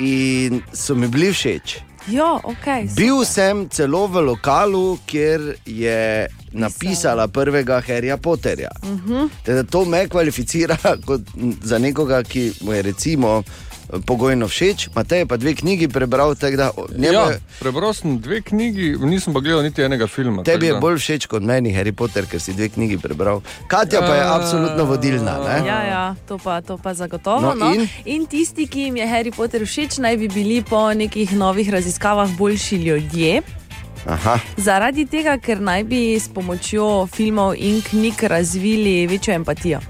C: in so mi bili všeč.
F: Ja, ok.
C: Bil sem celo v lokalu, kjer je napisala prvega Harryja Potterja.
F: Mhm.
C: Teda to me kvalificira kot za nekoga, ki mu je recimo eh, pogojno všeč, Matej je pa dve knjigi prebral, tako da o, njemu
D: Ja,
C: je-
D: prebral sem dve knjigi, nisem pa gledal niti enega filma.
C: Tebi je
D: tako da-
C: bolj všeč kot meni Harry Potter, ker si dve knjigi prebral. Katja pa je
D: Ja.
C: absolutno vodilna. ne?
F: Ja, ja, to pa, to pa zagotovo.
C: No,
F: No,
C: in?
F: in? in tisti, ki jim je Harry Potter všeč, naj bi bili po nekih novih raziskavah boljši ljudje.
C: Aha.
F: Zaradi tega, ker naj bi s pomočjo filmov in knjig razvili večjo empatijo.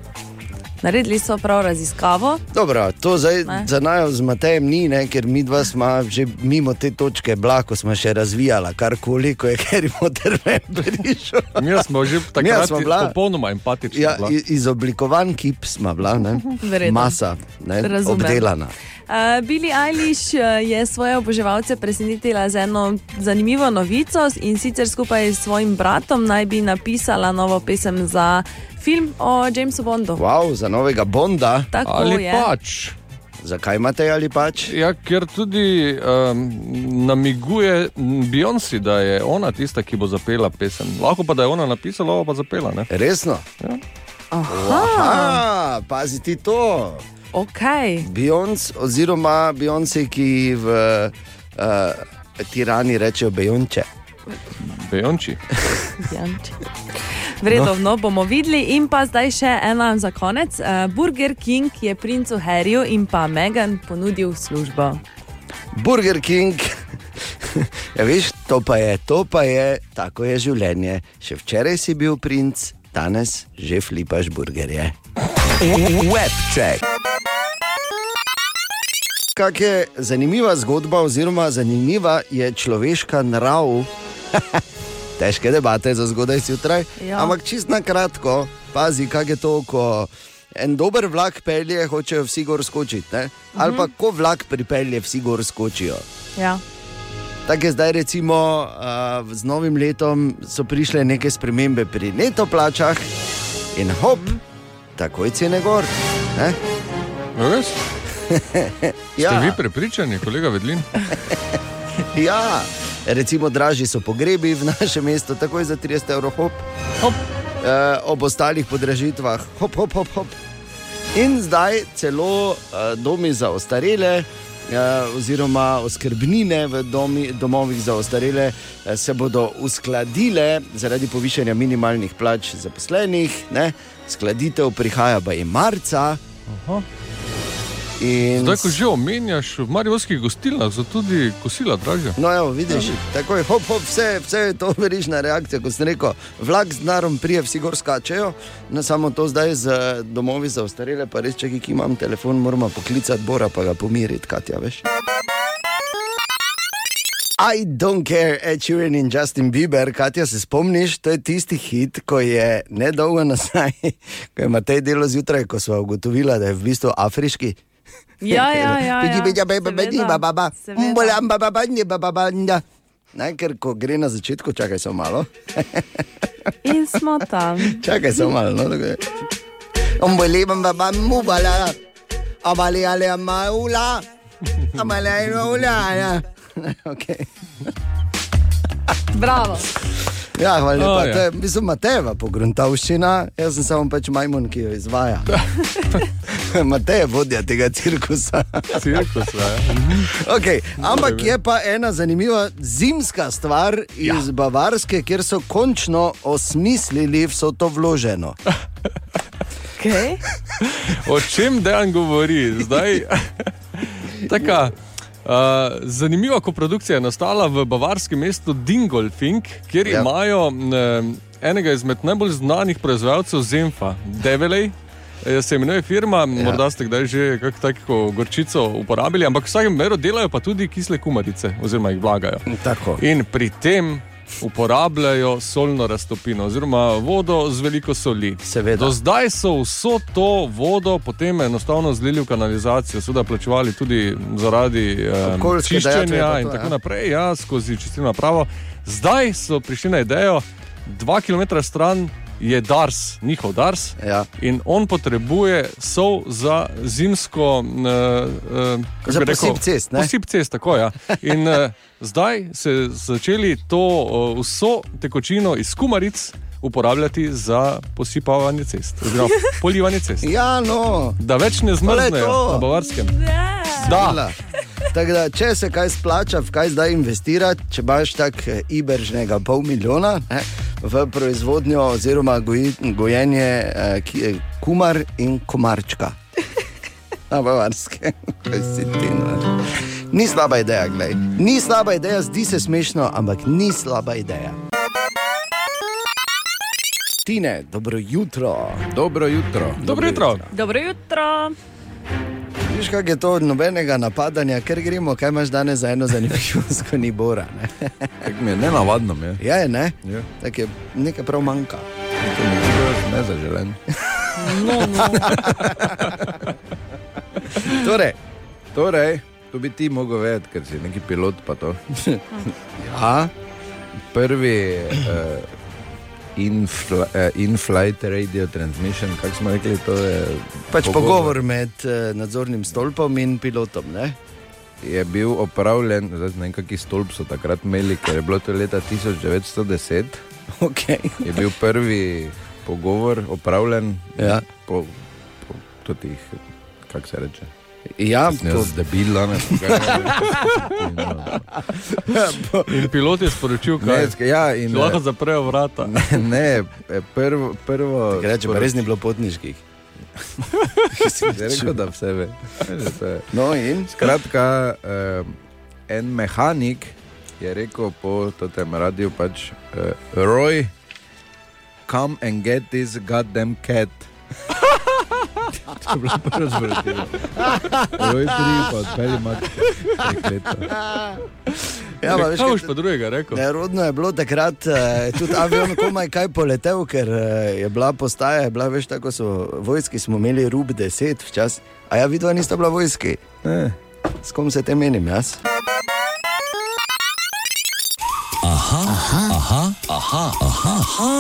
F: Naredili so prav raziskavo.
C: Dobro, to zdaj,
F: Ne.
C: za nami z Matejem ni, ne, ker mi dva smo že mimo te točke, blako smo še razvijala, karkoli, ko je Harry Potter ven prišel.
D: Mi smo že
C: Midva
D: takrat
C: sva bila-
D: popolnoma empatični.
C: Ja,
D: bila.
C: i- izoblikovan kip smo bila, ne?
F: Verjetno.
C: masa, ne?
F: Razumem.
C: obdelana.
F: Uh, Billie Eilish uh, je svoje oboževalce presenetila z eno zanimivo novico in sicer skupaj s svojim bratom naj bi napisala novo pesem za film o Jamesu Bondu.
C: Wow, za novega Bonda.
F: Tako Ali je. pač.
C: Zakaj imate ali pač?
D: Ja, ker tudi um, namiguje Beyoncé, da je ona tista, ki bo zapela pesem. Lahko pa da je ona napisala, ova pa zapela. Ne?
C: Resno?
D: Ja.
C: Aha, pazi ti to.
F: Okay.
C: Beyoncé, oziroma Beyoncé, ki v uh, Tirani rečejo Bejonče.
D: Bejonči.
F: Janči. Vredovno bomo videli, in pa zdaj še ena za konec. Eh, Burger King je princu Harryju in pa Megan ponudil službo.
C: Burger King. Ja, veš, to pa je, to pa je, tako je življenje. Še včeraj si bil princ, danes že flipaš burgerje.
G: Web check.
C: Kak je zanimiva zgodba, oziroma zanimiva je človeška narav. Težke debate za zgodaj zjutraj.
J: Ja.
C: Ja. Ampak čist na kratko, pazi, kaj je to, ko en dober vlak pelje, hočejo vsi gor skočiti. Ne? Ali pa ko vlak pripelje, vsi gor skočijo.
F: Ja.
C: Tako je zdaj, recimo, uh, z novim letom so prišle neke spremembe pri neto plačah in hop, takoj cene gor. Ne?
D: Res?
C: ja.
D: Ste vi prepričani, kolega Vedlin?
C: Ja, recimo, dražji so pogrebi v našem mestu, takoj za 30 evrov, hop.
D: hop.
C: E, ob ostalih podražitvah, hop, hop, hop. hop. In zdaj celo e, domi za ostarele. e, Oziroma, oskrbnine v domi, domovih za ostarele e, se bodo uskladile zaradi povišanja minimalnih plač zaposlenih, ne? skladitev prihaja pa je marca.
D: Aha.
C: In...
D: Zdaj, ko že omenjaš, v mariborskih gostilnah so tudi kosila dražja.
C: No, evo, vidiš, tako je, hop, hop, vse, vse je to verižna reakcija, kot sem rekel. Vlak z narom prije, vsi gor skačejo, ne samo to zdaj z eh, domovi za ostarele, pa res, če ki imam telefon, moramo poklicati Bora, pa ga pomiriti, Katja, veš. I don't care, Ed Sheeran in Justin Bieber, Katja, se spomniš, to je tisti hit, ko je nedolgo nazaj, ko je Matej delo zjutraj, ko smo ugotovili, da je v bistvu afriški.
F: Ja, ja, ja, ja,
C: Pidi, pidi, pidi, pidi,
F: seveda,
C: ba, ba, ba,
F: seveda.
C: mbolam, ba, ba, ba, nje, ba, ba, ba, nja. Ne, ker ko gre na začetku, čakaj samo malo.
F: In smo tam.
C: Čakaj samo malo. No, tako je. Ombolivam baba mubala, abali ali amaula, abali ali amaula. ja. Okay.
F: Bravo.
C: Ja, hvala lepa.
F: Oh,
C: Oh,
F: ja.
C: ja. To je, mislim, Matejeva pogruntavščina, jaz sem samo pač majmun, ki jo izvaja. Matej je vodja tega cirkusa. Mhm.
D: cirkusa,
C: okay, ampak je pa ena zanimiva zimska stvar iz ja. Bavarske, kjer so končno osmislili vso to vloženo.
F: Okay.
D: O čem dejan govori? Zdaj, taka, uh, zanimiva koprodukcija je nastala v bavarskem mestu Dingolfing, kjer ja. imajo um, enega izmed najbolj znanih proizvajalcev Zemfa, Develej. eh, Se imenuje firma, ja. morda ste kdaj že kako tako gorčico uporabili, ampak v vsakem primeru delajo pa tudi kisle kumarice, oziroma jih vlagajo.
C: Tako.
D: In pri tem uporabljajo solno raztopino, oziroma vodo z veliko soli. Seveda. Do zdaj so vso to vodo potem enostavno zlili v kanalizacijo, seveda plačevali tudi zaradi em,
C: Okoljske
D: čiščenja
C: dajatve pa to,
D: in
C: ja.
D: tako naprej, ja, skozi čistilno pravo. Zdaj so prišli na idejo, dva km stran. Je Dars, njihov Dars.
C: Ja.
D: In on potrebuje sol za zimsko. Uh, uh,
C: Za posip cest, ne?
D: Posip cest, tako je. Ja. In uh, zdaj se začeli to uh, vso tekočino iz kumaric uporabljati za posipavanje cest, oziroma polivanje cest.
C: Ja, no.
D: Da več ne zmrznejo
C: to.
D: na Bavarskem. Da.
C: Tako da, če se kaj splača, v kaj zdaj investirati, če imaš tako eh, ibržnega pol milijona ne, v proizvodnjo oziroma goji, gojenje eh, ki- eh, kumar in komarčka. Na bavarske, kaj si ti na. Ni slaba ideja, gledaj. Ni slaba ideja, zdi se smešno, ampak ni slaba ideja. Tine, dobro jutro.
A: Dobro jutro.
D: Dobro jutro.
F: Dobro jutro.
C: Veš, kako je to od nobenega napadanja, ker gremo, kaj imaš danes za eno zanimivo, ko ni bora. Ne?
A: Tako mi je nenavadno. mi Je.
C: Ja, je, ne?
A: Ja.
C: Tako je nekaj prav manjka.
A: To mi je bilo Nezaželen.
F: No, no.
C: Torej,
A: torej, to bi ti mogel vedeti, ker si neki pilot. pa to.
C: ja.
A: Prvi uh, infla, uh, in-flight radio transmission, kako smo rekli, to je.
C: Pač pogovor med eh, nadzornim stolpom in pilotom. Ne?
A: Je bil opravljen, zdaj ne vem, kakšen stolp so takrat imeli, ker je bilo to leta 1910.
C: Okay.
A: Je bil prvi pogovor opravljen
C: ja.
A: po, po totih, kako se reče.
C: Ja,
A: to... debila, ne, kaj,
C: Ja,
D: In pilot je sporočil,
A: ne,
D: kaj
A: sk- ja, in,
D: Če lahko zaprejo vrata.
A: Ne, ne eh, prvo. prvo
C: Reče, pa res ni bilo potniških.
A: Zdaj rekel, da vse ve. Že to je.
C: No, in
A: Skratka, um, en mehanik je rekel po tem radiju pač, uh, Roy, come and get this goddamn cat. to je bilo prvo zvratilo. Roy, tri, pa odpelji mat.
C: ja, pa veš,
D: Kaj boš
C: kaj,
D: pa drugega rekel?
C: nerodno je bilo takrat, eh, tudi avion komaj kaj poletel, ker eh, je bila postaja, je bila, veš, tako so vojski, smo imeli rub 10 včasih. A ja, vidva nista bila vojski.
A: Ne.
C: S kom se te menim jaz?
G: Aha, aha, aha, aha, aha,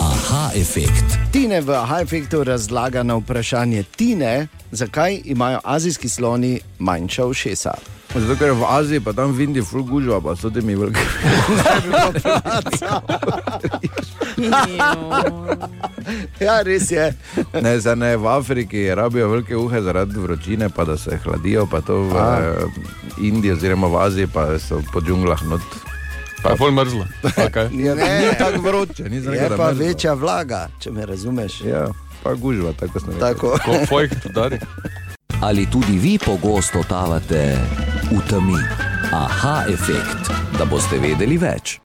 G: aha, efekt.
C: Tine v Hajfektu razlaga na vprašanje Tine, zakaj imajo azijski sloni manjša ušesa.
A: Zato, ker v Aziji, pa tam v Indiji, ful gužva, pa so temi veliki.
F: no.
C: Ja, res je.
A: Ne, zdaj ne v Afriki, rabijo velike uhe zaradi vročine, pa da se hladijo, pa to v
C: A.
A: eh, Indiji oziroma v Aziji, pa so po džunglah not.
D: Pa je pol mrzlo. Okay.
C: Ja,
A: Ni tako vroče, ni
C: je
A: zraven.
C: pa večja vlaga, če me razumeš.
A: Ja, pa gužva, tako sem rekel.
C: Tako.
D: Ko fojk udari.
G: Ali tudi vi pogosto totavate v temi? Aha, efekt, da boste vedeli več.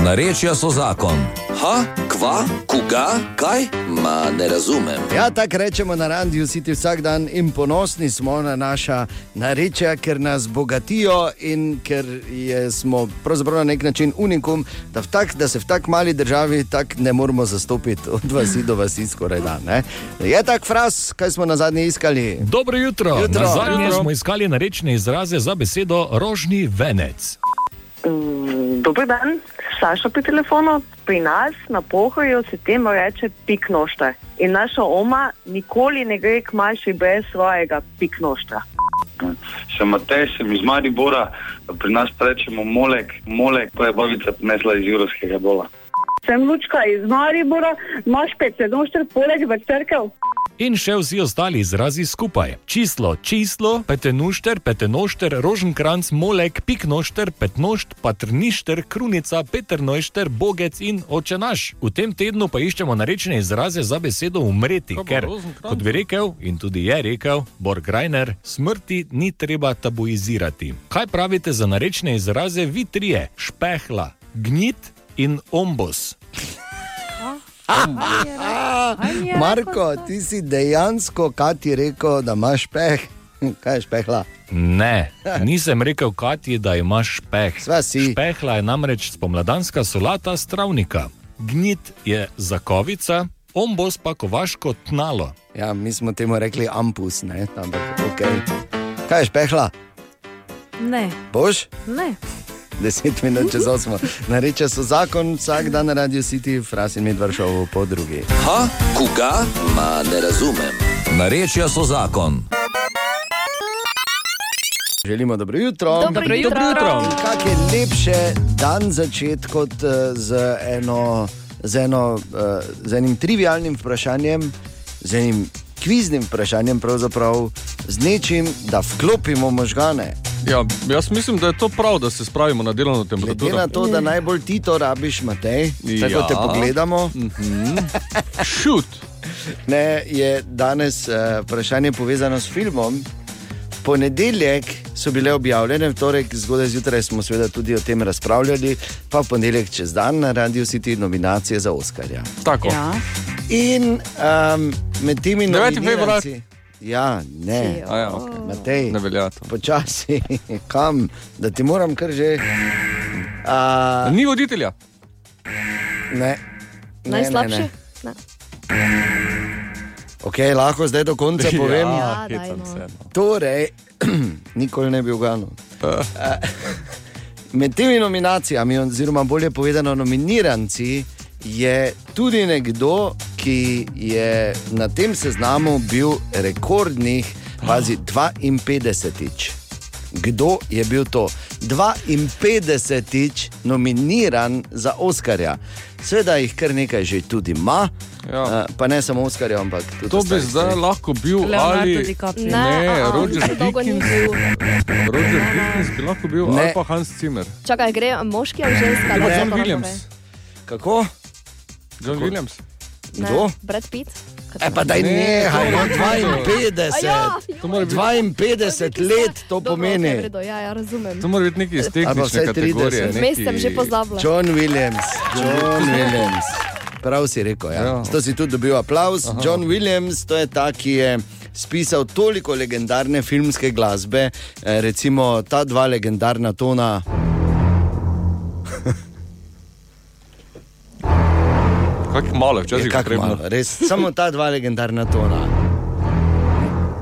G: Narečja so zakon, Aha, kva, koga, kaj? Ma ne razumem.
C: Ja, tako rečemo na radiju, si ti vsak dan in ponosni smo na naša narečja, ker nas bogatijo in ker je, smo pravzaprav na nek način unikum, da, v tak, da se v tako mali državi tak ne moremo zastopiti od vasi do vasi skoraj da. Ne? Je tak fraz, kaj smo na zadnje iskali?
J: Dobro jutro.
C: Jutro.
J: Na zadnje
C: Jutro.
J: smo iskali rečne izraze za besedo rožni venec.
K: Mm, Dober dan, Saša pri telefonu. Pri nas na pohoju se temu reče piknošta. In naša oma nikoli ne gre k maši brez svojega piknošta.
L: Sem Matej, sem iz Maribora, pri nas pa rečemo molek, molek, to je babica prinesla iz Jurovskega dola.
M: Sem Lučka iz Maribora, imaš 574 poleg v crkev.
J: In še vsi ostali izrazi skupaj. Číslo, číslo, petenušter, petenošter, roženkranc, molek, piknošter, petnošt, patrništer, krunica, peternojšter, bogec in očenaš. V tem tednu pa iščemo rečne izraze za besedo umreti,
D: Kaj pa
J: ker,
D: roženkranc?
J: kot bi rekel in tudi je rekel Borgrajner, smrti ni treba tabuizirati. Kaj pravite za rečne izraze vi trije? Špehla, gnit in ombos.
C: Ah, Marko, ti si dejansko, kaj ti rekel, da imaš peh. Kaj je špehla?
J: Ne, nisem rekel, Kati, da imaš peh. Špehla je namreč spomladanska solata s travnika. Gnit je zakovica, ombos pa kovaško tnalo.
C: Ja, mi smo temu rekli ampus, ne? Ampak, okay. Kaj je špehla?
F: Ne,
C: Boš?
F: ne.
C: 10 minut čez 8. Nareče so zakon, vsak dan na Radio City, Frasin Medvršov po drugi.
G: Ha, koga? Ma ne razumem. Narečja so zakon.
C: Želimo dobro jutro.
G: Dobro Dobro jutro. jutro.
C: In Kak je lepše dan začeti kot eh, z, eno, z, eno, eh, z enim trivialnim vprašanjem, z enim kviznim vprašanjem, pravzaprav z nečim, da vklopimo možgane.
D: Ja, jaz mislim, da je to prav, da se spravimo na delovno
C: Glede
D: temperaturo.
C: na to, da najbolj ti to rabiš, Matej, tako
D: Ja. Mhm.
C: ja. te pogledamo.
D: Šut.
C: Ne, je danes uh, vprašanje povezano s filmom. V Ponedeljek so bile objavljene, v torek zgodaj zjutraj smo seveda tudi o tem razpravljali, pa v ponedeljek čez dan na radiju si ti nominacije za Oscarja.
D: Tako.
C: Ja. In um, med temi
D: 9.
C: nominiranci-
D: februar.
C: Ja, ne,
D: A ja, okej.
C: Matej,
D: ne velja to.
C: Počasi, kam, da ti moram kar že. Uh,
D: Ni voditelja.
C: Ne. Ne,
E: Najslabši?
C: Ne, ne. Okay, lahko zdaj do konca
E: Ja,
C: povem.
E: Ja, daj, hecam no. Ah. se,
C: Torej, nikoli ne bi uganil. Eh, Med temi nominacijami, oziroma bolje povedano, nominiranci, je tudi nekdo, ki je na tem seznamu bil rekordnih, pazi, 52. Kdo je bil to? 52. nominiran za Oscarja. Sveda jih kar nekaj že tudi ima, ja. pa ne samo Oscarja, ampak tudi
D: To bi
C: ostalih
D: zdaj
C: stvari.
D: lahko bil
C: Leonardo
D: ali
C: DiCaprio.
D: Ne,
C: Ne, a,
D: Roger
E: tako dolgo ni bil.
D: Roger Dickens bi lahko bil,
C: Ne.
D: ali pa Hans Zimmer.
E: Čakaj, gre moški ali ženska?
D: Ali pa
E: Da se
D: John
E: to
D: Williams.
C: Kako?
D: John Williams.
E: Ne,
C: Kdo?
E: Brad Pitt.
C: E pa da je
D: Ne,
C: nehaj, no,
D: dobro, dobro.
C: 52,
E: Aja,
D: To mora biti-
C: 52 let to
E: Dobro, okej, v
C: pomeni.
E: redu, Ja, ja, razumem.
D: To mora biti nekaj iz
C: Ali pa
D: tehnične
C: vsaj
D: kategorije.
C: 30.
D: neki-
E: Vmes sem že pozabila.
C: John Williams, John
D: Williams.
C: Williams. Prav si rekel, ja. Zato si tudi dobil aplaus. Aha. John Williams, to je ta, ki je spisal toliko legendarne filmske glasbe, eh, recimo ta dva legendarna tona.
D: Kako malo,
C: Je
D: včasih
C: kak
D: potrebno.
C: malo, Res, samo ta dva legendarna tona.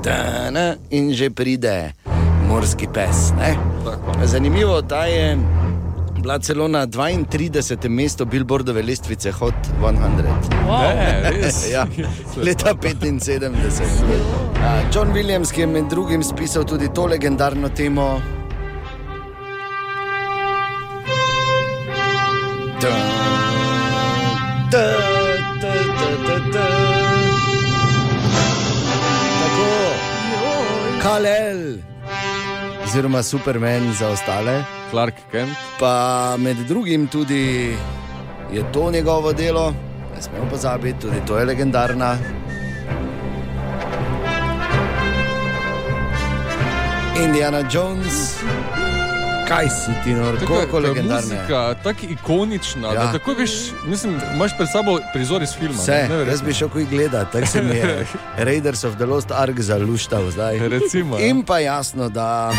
C: Tana in že pride morski pes. Ne? Zanimivo, ta je bila celo na 32. mestu Billboardove lestvice Hot 100.
D: Wow. Ne, res?
C: ja, leta 75. Ja, John Williams, ki je med drugim spisal tudi to legendarno temo. Kalel, oziroma Superman za ostale.
D: Clark Kent.
C: Pa med drugim tudi je to njegovo delo, ne smemo pozabiti, tudi to je legendarna. Indiana Jones, Kaj si ti, no,
D: Taka-
C: kako
D: ta
C: legendarne.
D: Muzika, tako ikonična, ja. da tako veš, mislim, imaš pred sabo prizor iz filma.
C: Vse,
D: ne,
C: jaz bi šel kuj gledat, tako se mi je Raiders of the Lost Ark zaluštal zdaj.
D: Recimo, ja.
C: In pa jasno, da.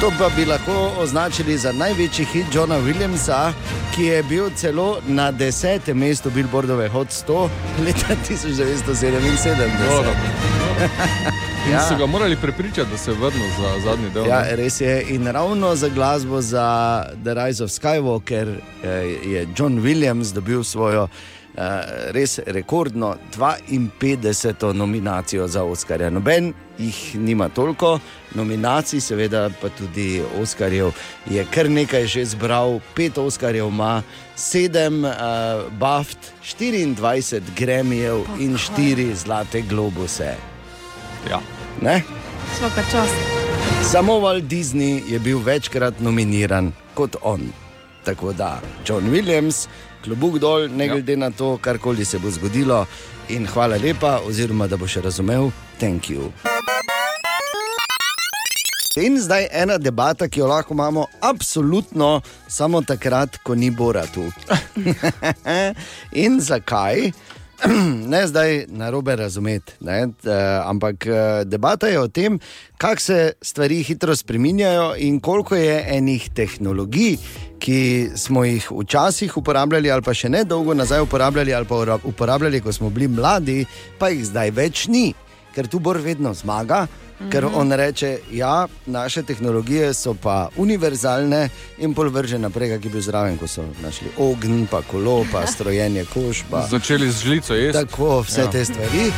C: To pa bi lahko označili za največji hit Johna Williamsa, ki je bil celo na desetem mestu Billboardove Hot 100 leta 1977.
D: Dobro. In
C: Ja.
D: ja. so ga morali prepričati, da se je vrnil za zadnji del.
C: Ja,
D: ne.
C: res je. In ravno za glasbo za The Rise of Skywalker eh, je John Williams dobil svojo eh, res rekordno 52. nominacijo za Oscarja. Noben jih nima toliko, nominacij, seveda pa tudi Oscarjev je kar nekaj že zbral, pet Oscarjev ima, sedem eh, Baft, 24 Gremijev in štiri zlate globuse.
D: Ja.
C: Ne?
F: Smo pa čas.
C: Samo Walt Disney je bil večkrat nominiran kot on. Tako da, John Williams, klobuk dol, ne
D: Ja.
C: glede na to, karkoli se bo zgodilo. In hvala lepa, oziroma da boš razumel, thank you. In zdaj ena debata, ki jo lahko imamo, absolutno samo takrat, ko ni Bora tu. In zakaj? Ne zdaj na robe razumeti, ne, eh, ampak eh, debata je o tem, kako se stvari hitro spreminjajo in koliko je enih tehnologij, ki smo jih včasih uporabljali, ali pa še ne dolgo nazaj uporabljali, ali pa ura- uporabljali, ko smo bili mladi, pa jih zdaj več ni, ker tu Bor vedno zmaga. Ker
N: Mhm.
C: on reče, da ja, naše tehnologije so pa univerzalne, in pol vrže naprej, ki je bil zraven, ko so našli ogenj, pa kolo, pa strojenje koš. Pa...
D: Začeli z žlico jesti.
C: Tako, vse
D: Ja.
C: ja. te stvari.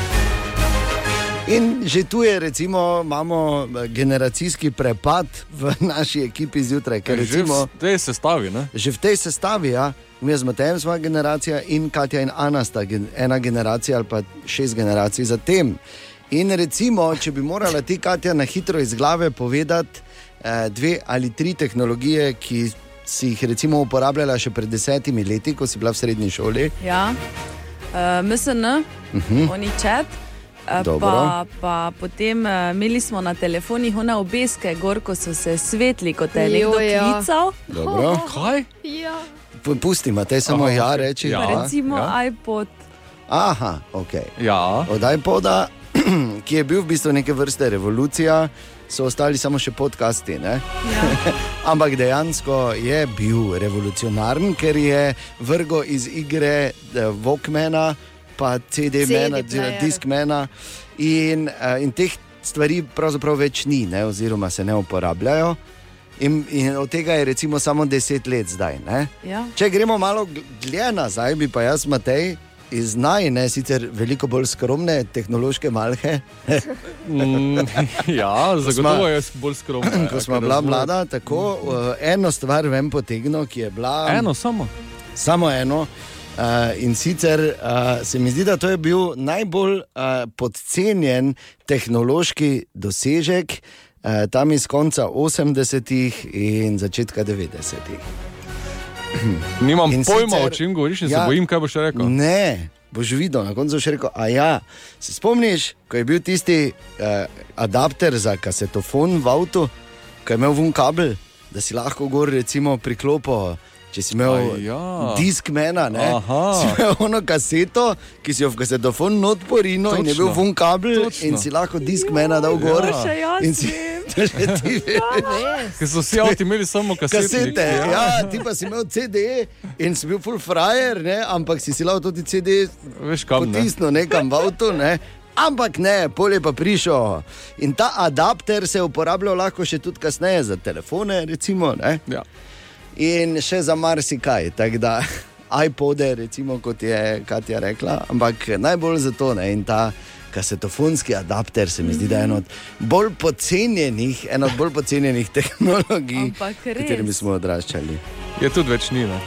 C: In že tu je, recimo, imamo generacijski prepad v naši ekipi zjutraj. Ker, recimo,
D: Že v tej sestavi. Ne?
C: že v tej sestavi, ja, mi smo tam, smo generacija in Katja in Ana sta gen, ena generacija ali pa šest generacij za tem. In recimo, če bi morala ti, Katja, na hitro iz glave povedati eh, dve ali tri tehnologije, ki si jih recimo uporabljala še pred desetimi leti, ko si bila v srednji šoli.
F: Ja, uh, MSN,
C: Mhm.
F: oni čat. eh,
C: Dobro.
F: Pa, pa potem eh, imeli smo na telefonih one obeske, gor ko so se svetli, kot je nekdo
E: Joj, ja.
F: klical.
C: Dobro.
D: Kaj?
E: Ja.
C: Pu- Pustima, te samo
D: Aha,
C: ja
D: okej.
C: reči.
F: Ja. Pa recimo ja. iPod.
C: Aha, ok.
D: Ja.
C: Od iPoda, ki je bil v bistvu neke vrste revolucija, so ostali samo še podcasti. Ja. Ampak dejansko je bil revolucionaren, ker je vrgo iz igre eh, Walkmana, pa CD-mena,
N: CD player.
C: Diskmana. In, eh, in teh stvari pravzaprav več ni, ne? oziroma se ne uporabljajo. In, in od tega je recimo samo 10 let zdaj. Ne?
F: Ja.
C: Če gremo malo gl- dlje nazaj, bi pa jaz, Matej, iz najne, sicer veliko bolj skromne tehnološke malhe.
D: ja,
C: Ko
D: zagotovo
C: sva-
D: je bolj ja, skromno.
C: Ko smo bila mlada, tako eh, eno stvar vem potegno, ki je bila.
D: Eno samo.
C: Samo eno. Uh, in sicer uh, se mi zdi, da to je bil najbolj uh, podcenjen tehnološki dosežek uh, tam iz konca 80-ih in začetka 90-ih.
D: Nimam
C: In
D: pojma,
C: sicer-
D: o čem govoriš in ja.
C: Ja.
D: se bojim, kaj boš rekel.
C: Ne, boš videl, na koncu boš rekel, a ja, se spomniš, ko je bil tisti eh, adapter za kasetofon v avtu, ki je imel vun kabel, da si lahko gor recimo priklopo. Če si imel
D: A
C: ja.
D: ja.
C: disk mena, ne,
D: Aha.
C: si imel ono kaseto, ki si jo v kasetofon not porino in je bil
D: Točno.
C: vun kabel
D: Točno.
C: in si lahko disk mena dal gor.
D: to še ja. jaz
C: in si to še ti veš.
D: Ker so vsi avti imeli samo kasete.
C: Kasete, ja, ti pa si imel CD in si bil full frajer, ne? ampak si si lahko tudi CD
D: Veš, kam, ne?
C: potisnil nekam v avto. Ne? Ampak ne, polje pa prišel. In ta adapter se je uporabljal lahko še tudi kasneje za telefone, recimo. ne.
D: Ja.
C: In še za marsikaj. Tako da iPode, recimo, kot je Katja rekla, ampak najbolj zato ne. In ta kasetofonski adapter se mi zdi, da je eno od bolj podcenjenih, ena od bolj podcenjenih tehnologij,
F: Ampak
C: s katerimi
F: res.
C: smo odraščali.
D: Je tudi več Ja, ni. Ne?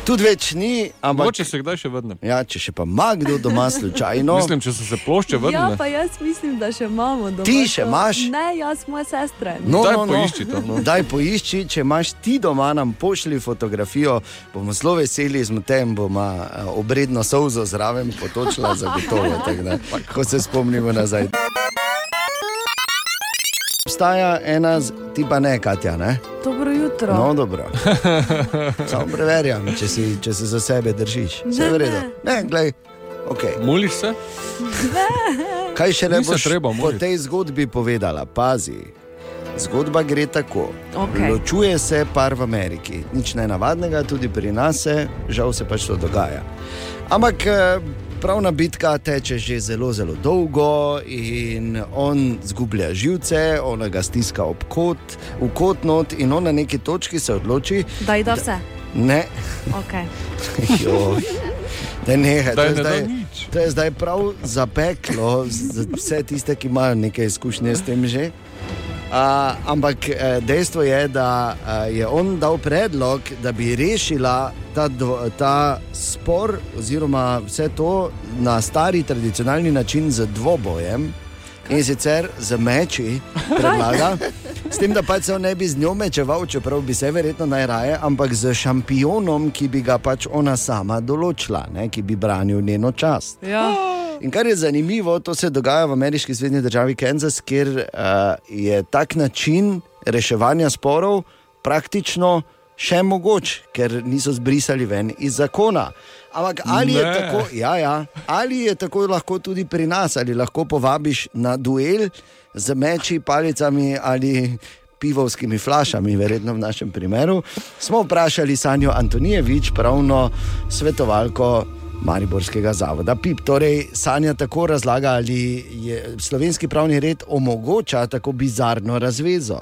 C: Tudi več ni, ampak
D: Mogoče se kdaj še vrnem.
C: ja, če še pa ima kdo doma slučajno.
D: Mislim, če so se plošče
F: Ja, pa jaz mislim, da še imamo doma.
C: Ti še
F: to.
C: imaš?
F: Ne, jaz moje sestre.
C: No,
D: no.
C: Daj poišči, če imaš ti doma, nam pošlji fotografijo, bomo zelo veseli, z tem bomo eh, obredno solzo zraven potočila, zagotovo. tako da, Ko se spomnimo nazaj. Obstaja ena, z- ti pa ne, Katja. Ne?
F: Dobro jutro.
C: No, dobro. Samo preverjam, če, si, če se za sebe držiš. Vse je v redu. Ne, glej. Okay.
D: Muliš se?
C: Kaj še ne
D: Ni se
C: boš
D: treba
C: po
D: muliti.
C: tej zgodbi povedala? Pazi. Zgodba gre tako.
F: Okej.
C: Ločuje se par v Ameriki. Nič nenavadnega, tudi pri nas se, žal se pač to dogaja. Ampak eh, pravna bitka teče že zelo, zelo dolgo in on zgublja živce, ona ga stiska ob kot, v kot not in on na neki točki se odloči,
F: Daj, da vse.
C: ne,
F: Okay.
C: Joj. Da nehaj, to
F: Daj,
C: je
F: ne da
C: zdaj, to je zdaj prav zapeklo za vse tiste, ki imajo nekaj izkušnje s tem že. Uh, ampak eh, dejstvo je, da uh, je on dal predlog, da bi rešila ta, dvo, ta spor, oziroma vse to na stari tradicionalni način z dvobojem in sicer z meči, predlaga. S tem, da pač se on ne bi z njo mečeval, čeprav bi se verjetno najraje, ampak z šampionom, ki bi ga pač ona sama določila, ne, ki bi branil njeno čast.
F: Ja.
C: In kar je zanimivo, to se dogaja v ameriški zvezdni državi Kansas, kjer uh, je tak način reševanja sporov praktično še mogoč, ker niso zbrisali ven iz zakona. Ampak ali je,
O: Ne.
C: tako, ja, ja, ali je tako lahko tudi pri nas, ali lahko povabiš na duel z meči, palicami ali pivovskimi flašami, verjetno v našem primeru, smo vprašali Sanjo Antonijevič, pravno svetovalko Mariborskega zavoda PIP. Torej, Sanja tako razlaga, ali je slovenski pravni red omogoča tako bizarno razvezo.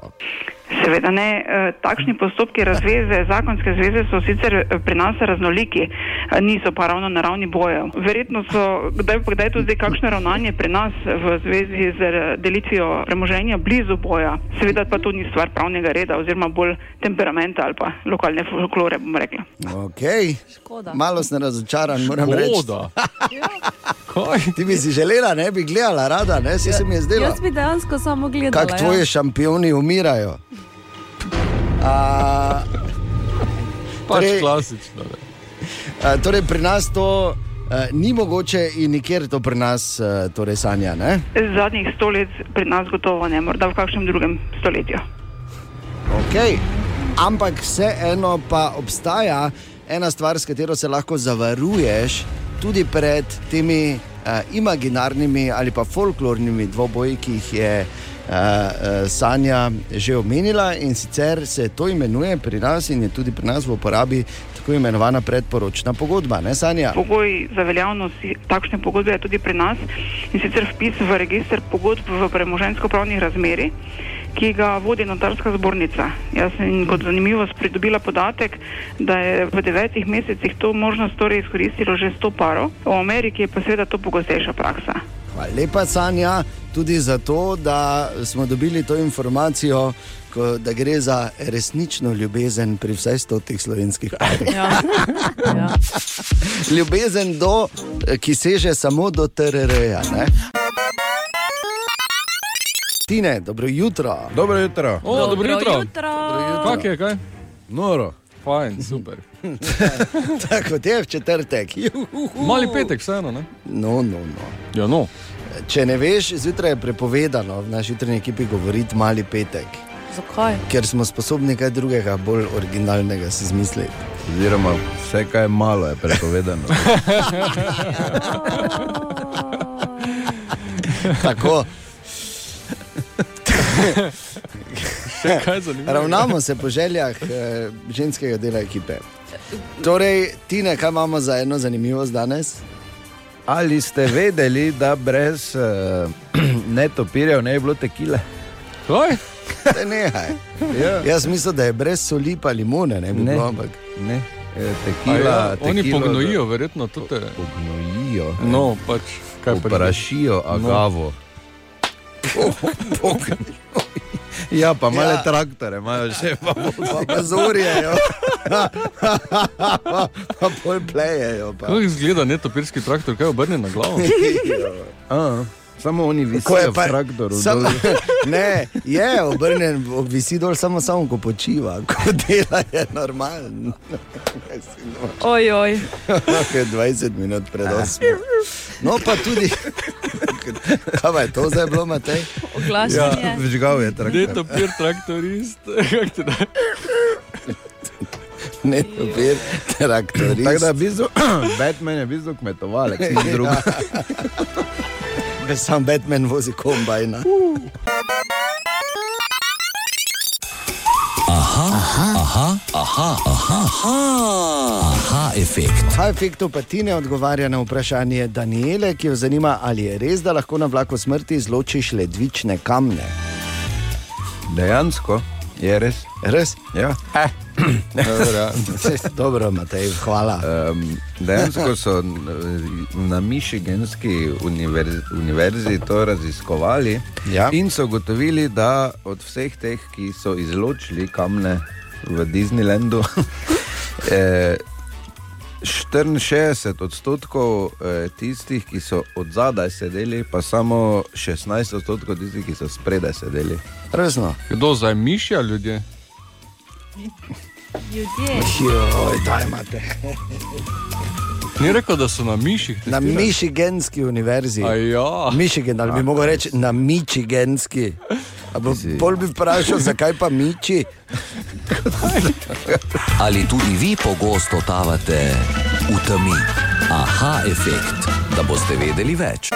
P: Seveda ne, eh, takšni postopki razveze, zakonske zveze so sicer eh, pri nas raznoliki, eh, niso pa ravno na ravni bojev. Verjetno so kdaj pa kdaj tudi kakšno ravnanje pri nas v zvezi z eh, delitvijo premoženja blizu boja. Seveda pa to ni stvar pravnega reda oziroma bolj temperamenta ali pa lokalne folklore, bom rekla.
C: Okay. Malo sem razočaran, moram
P: Škoda.
C: reči. Ti bi si želela, ne bi gledala, rada, ne si se mi je zdela.
F: Jaz bi ja. dejansko samo gledala.
C: Kako tvoji šampioni umirajo. A, torej,
D: Pač klasično. ne.
C: a, torej, pri nas to a, ni mogoče in nikjer to pri nas a, torej sanja. Ne?
P: Zadnjih sto let pri nas gotovo ne, morda v kakšnem drugem stoletju.
C: Okay. Ampak vseeno pa obstaja ena stvar, s katero se lahko zavaruješ tudi pred temi uh, imaginarnimi ali pa folklornimi dvoboji, ki jih je uh, uh, Sanja že omenila. In sicer se to imenuje pri nas in je tudi pri nas v uporabi tako imenovana predporočna pogodba, ne Sanja?
P: Pogoj za veljavnost takšne pogodbe je tudi pri nas in sicer vpis v registr pogodb v premožensko-pravnih razmeri, ki ga vodi notarska zbornica. Jaz sem kot zanimivost pridobila podatek, da je v devetih mesecih to možnost torej izkoristilo že 100 parov, v Ameriki je pa seveda to pogostejša praksa.
C: Hvala lepa, Sanja, tudi zato, da smo dobili to informacijo, ko, da gre za resnično ljubezen pri vsaj stotih slovenskih parih.
F: Ja. Ja.
C: ljubezen, do, ki seže samo do TRR-ja. ne? Tine, dobro jutro.
A: Dobro jutro.
D: O, Ja, dobro Dobro jutro. jutro. Kako
C: je, kaj?
A: Noro.
D: Fajn, super.
C: Tako je v četrtek.
D: Mali petek, vseeno. Ne?
C: No, no, no.
D: Ja, no.
C: Če ne veš, zjutraj je prepovedano v naši jutrajni ekipi govoriti mali petek.
F: Zakaj?
C: ker smo sposobni kaj drugega, bolj originalnega si izmisliti.
A: Oziroma, vse, kar je malo, je prepovedano.
C: Tako.
D: Še kaj zanimivega?
C: Ravnamo se po željah eh, ženskega dela ekipe. Torej, ti nekaj imamo za eno zanimivost danes?
A: Ali ste vedeli, da brez uh, netopirjev ne bi bilo tekile?
D: Kaj?
C: Te nehaj.
A: Ja.
C: Jaz mislim, da je brez soli pa limone, ne bi
A: Ne.
C: bilo, ampak
A: ne. E,
D: A
A: Tekila,
D: ja, Oni
A: tekilo-
D: pognojijo, verjetno tudi.
A: Pognojijo.
C: eh.
D: No, pač kaj pa. No.
A: Prašijo agavo.
D: No.
A: Ja, pa male
C: Ja.
A: ja. traktore imajo že, pa
C: Pa bazurjejo. pa pol plejejo. Pa.
D: Kako izgleda netopirski traktor, kaj obrne na glavo?
A: Ja. A, samo oni visijo
C: Oh. Ko je
A: v
C: pa-
A: traktorju.
C: Samo,
A: dol.
C: ne, je obrnjen, visi dol, samo, samo ko počiva, ko dela je normalen.
F: Ojoj.
C: Lahko je 20 minut pred 8. No, pa tudi, kaj pa je to zdaj bilo, Matej?
A: Ja, vžgal je traktor.
D: Netopir traktorist.
C: Ne, opet traktorist.
A: Tako da, v bistvu, Batman je v bistvu kmetovalec, ni drug.
C: Ja. Sam Batman vozi kombajna.
G: Aha, aha, aha, aha, aha, aha, efekt.
C: Aha, efektu pa ti ne odgovarja na vprašanje Daniele, ki jo zanima, ali je res, da lahko na vlaku smrti izločiš ledvične kamne.
A: Dejansko je res.
C: Res?
A: Ja. Dobro.
C: Dobro, Matej, hvala.
A: Um, dejansko so n- na Michiganski univerzi, univerzi to raziskovali
C: Ja.
A: in so ugotovili, da od vseh teh, ki so izločili kamne v Disneylandu, eh, 64 odstotkov eh, tistih, ki so od zadaj sedeli, pa samo 16 odstotkov tistih, ki so spredaj sedeli.
C: Resno.
D: Kdo zdaj mišja ljudje?
F: Ljudje.
C: Joj, daj, Matej.
D: Ni rekel, da so na miših.
C: Na
D: testirali?
C: Michiganski univerzi.
D: A ja.
C: Michigan, ali bi mogel reči na Michiganski. A bo- Pol bi vprašal, zakaj pa Miči.
G: Ali tudi vi pogosto totavate v temi? Aha, efekt, da boste vedeli več.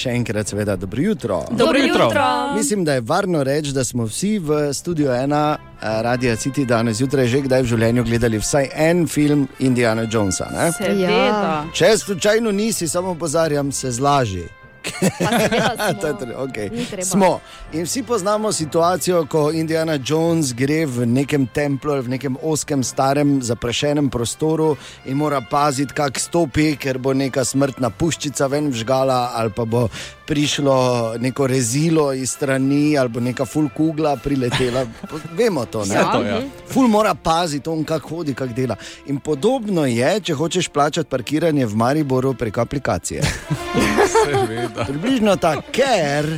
C: Še enkrat, seveda, dobro jutro.
G: Dobro jutro. jutro.
C: Mislim, da je varno reči, da smo vsi v studiu ena, radio City danes zjutraj že kdaj v življenju gledali vsaj en film Indiana Jonesa. Ne?
F: Seveda. Ja.
C: Če slučajno nisi, samo pozarjam, se zlaži.
E: To
C: je tre- okej.
E: Ni treba.
C: Smo. In vsi poznamo situacijo, ko Indiana Jones gre v nekem templju ali v nekem oskem, starem, zaprašenem prostoru in mora paziti, kako stopi, ker bo neka smrtna puščica ven vžgala, ali pa bo prišlo neko rezilo iz strani, ali bo neka full kugla priletela. Po- Vemo to, ne?
O: Ja, to, ja.
C: Ful mora paziti, on kako hodi, kako dela. In podobno je, če hočeš plačati parkiranje v Mariboru preko aplikacije. Približno tako, ker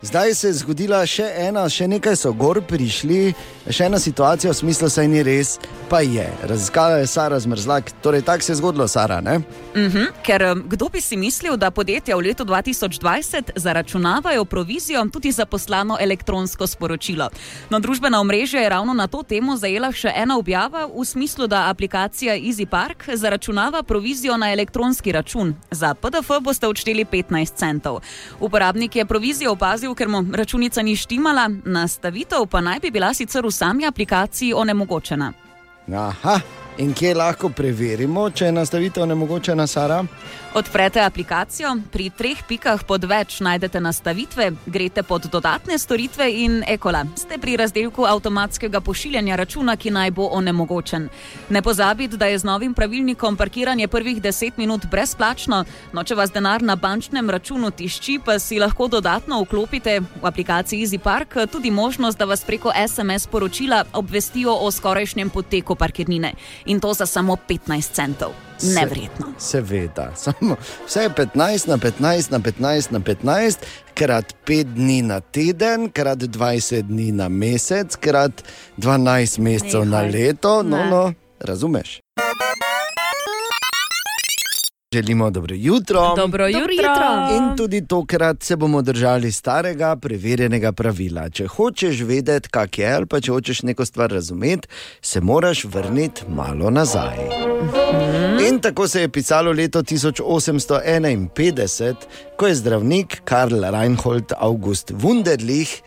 C: zdaj se je zgodila še ena, še nekaj so gor prišli, še ena situacija v smislu, saj ni res, pa je. Raziskala je Sara Zmrzlak, torej tako se je zgodilo, Sara. Ne?
Q: Mhm, ker em, kdo bi si mislil, da podjetja v letu 2020 zaračunavajo provizijo tudi za poslano elektronsko sporočilo. No, družbena omrežja je ravno na to temo zajela še ena objava v smislu, da aplikacija EasyPark zaračunava provizijo na elektronski račun. Za PDF boste odšteli 15 centov. Uporabnik je provizijo opazil, ker mu računica ni štimala, nastavitev pa naj bi bila sicer v sami aplikaciji onemogočena.
C: Aha. In kje lahko preverimo, če je nastavitev onemogočena, Sara?
Q: Odprete aplikacijo, pri treh pikah pod več najdete nastavitve, greste pod dodatne storitve in ekola. Ste pri razdelku avtomatskega pošiljanja računa, ki naj bo onemogočen. Ne pozabite, da je z novim pravilnikom parkiranje prvih 10 minut brezplačno, no če vas denar na bančnem računu tišči, pa si lahko dodatno vklopite v aplikaciji EasyPark tudi možnost, da vas preko SMS poročila obvestijo o skorajšnjem poteku parkirnine. In to za samo 15 centov. Neverjetno.
C: Se, seveda, samo vse je 15 na 15 na 15 na 15, krat 5 dni na teden, krat 20 dni na mesec, krat 12 mesecev na
O: Nehaj.
C: leto, no,
O: Ne.
C: no, razumeš. Želimo dobro jutro.
F: Dobro jutro. Dobro jutro.
C: In tudi tokrat se bomo držali starega, preverjenega pravila. Če hočeš vedeti, kak je, ali pa če hočeš neko stvar razumeti, se moraš vrniti malo nazaj. In tako se je pisalo leto 1851, ko je zdravnik Karl Reinhold August Wunderlich.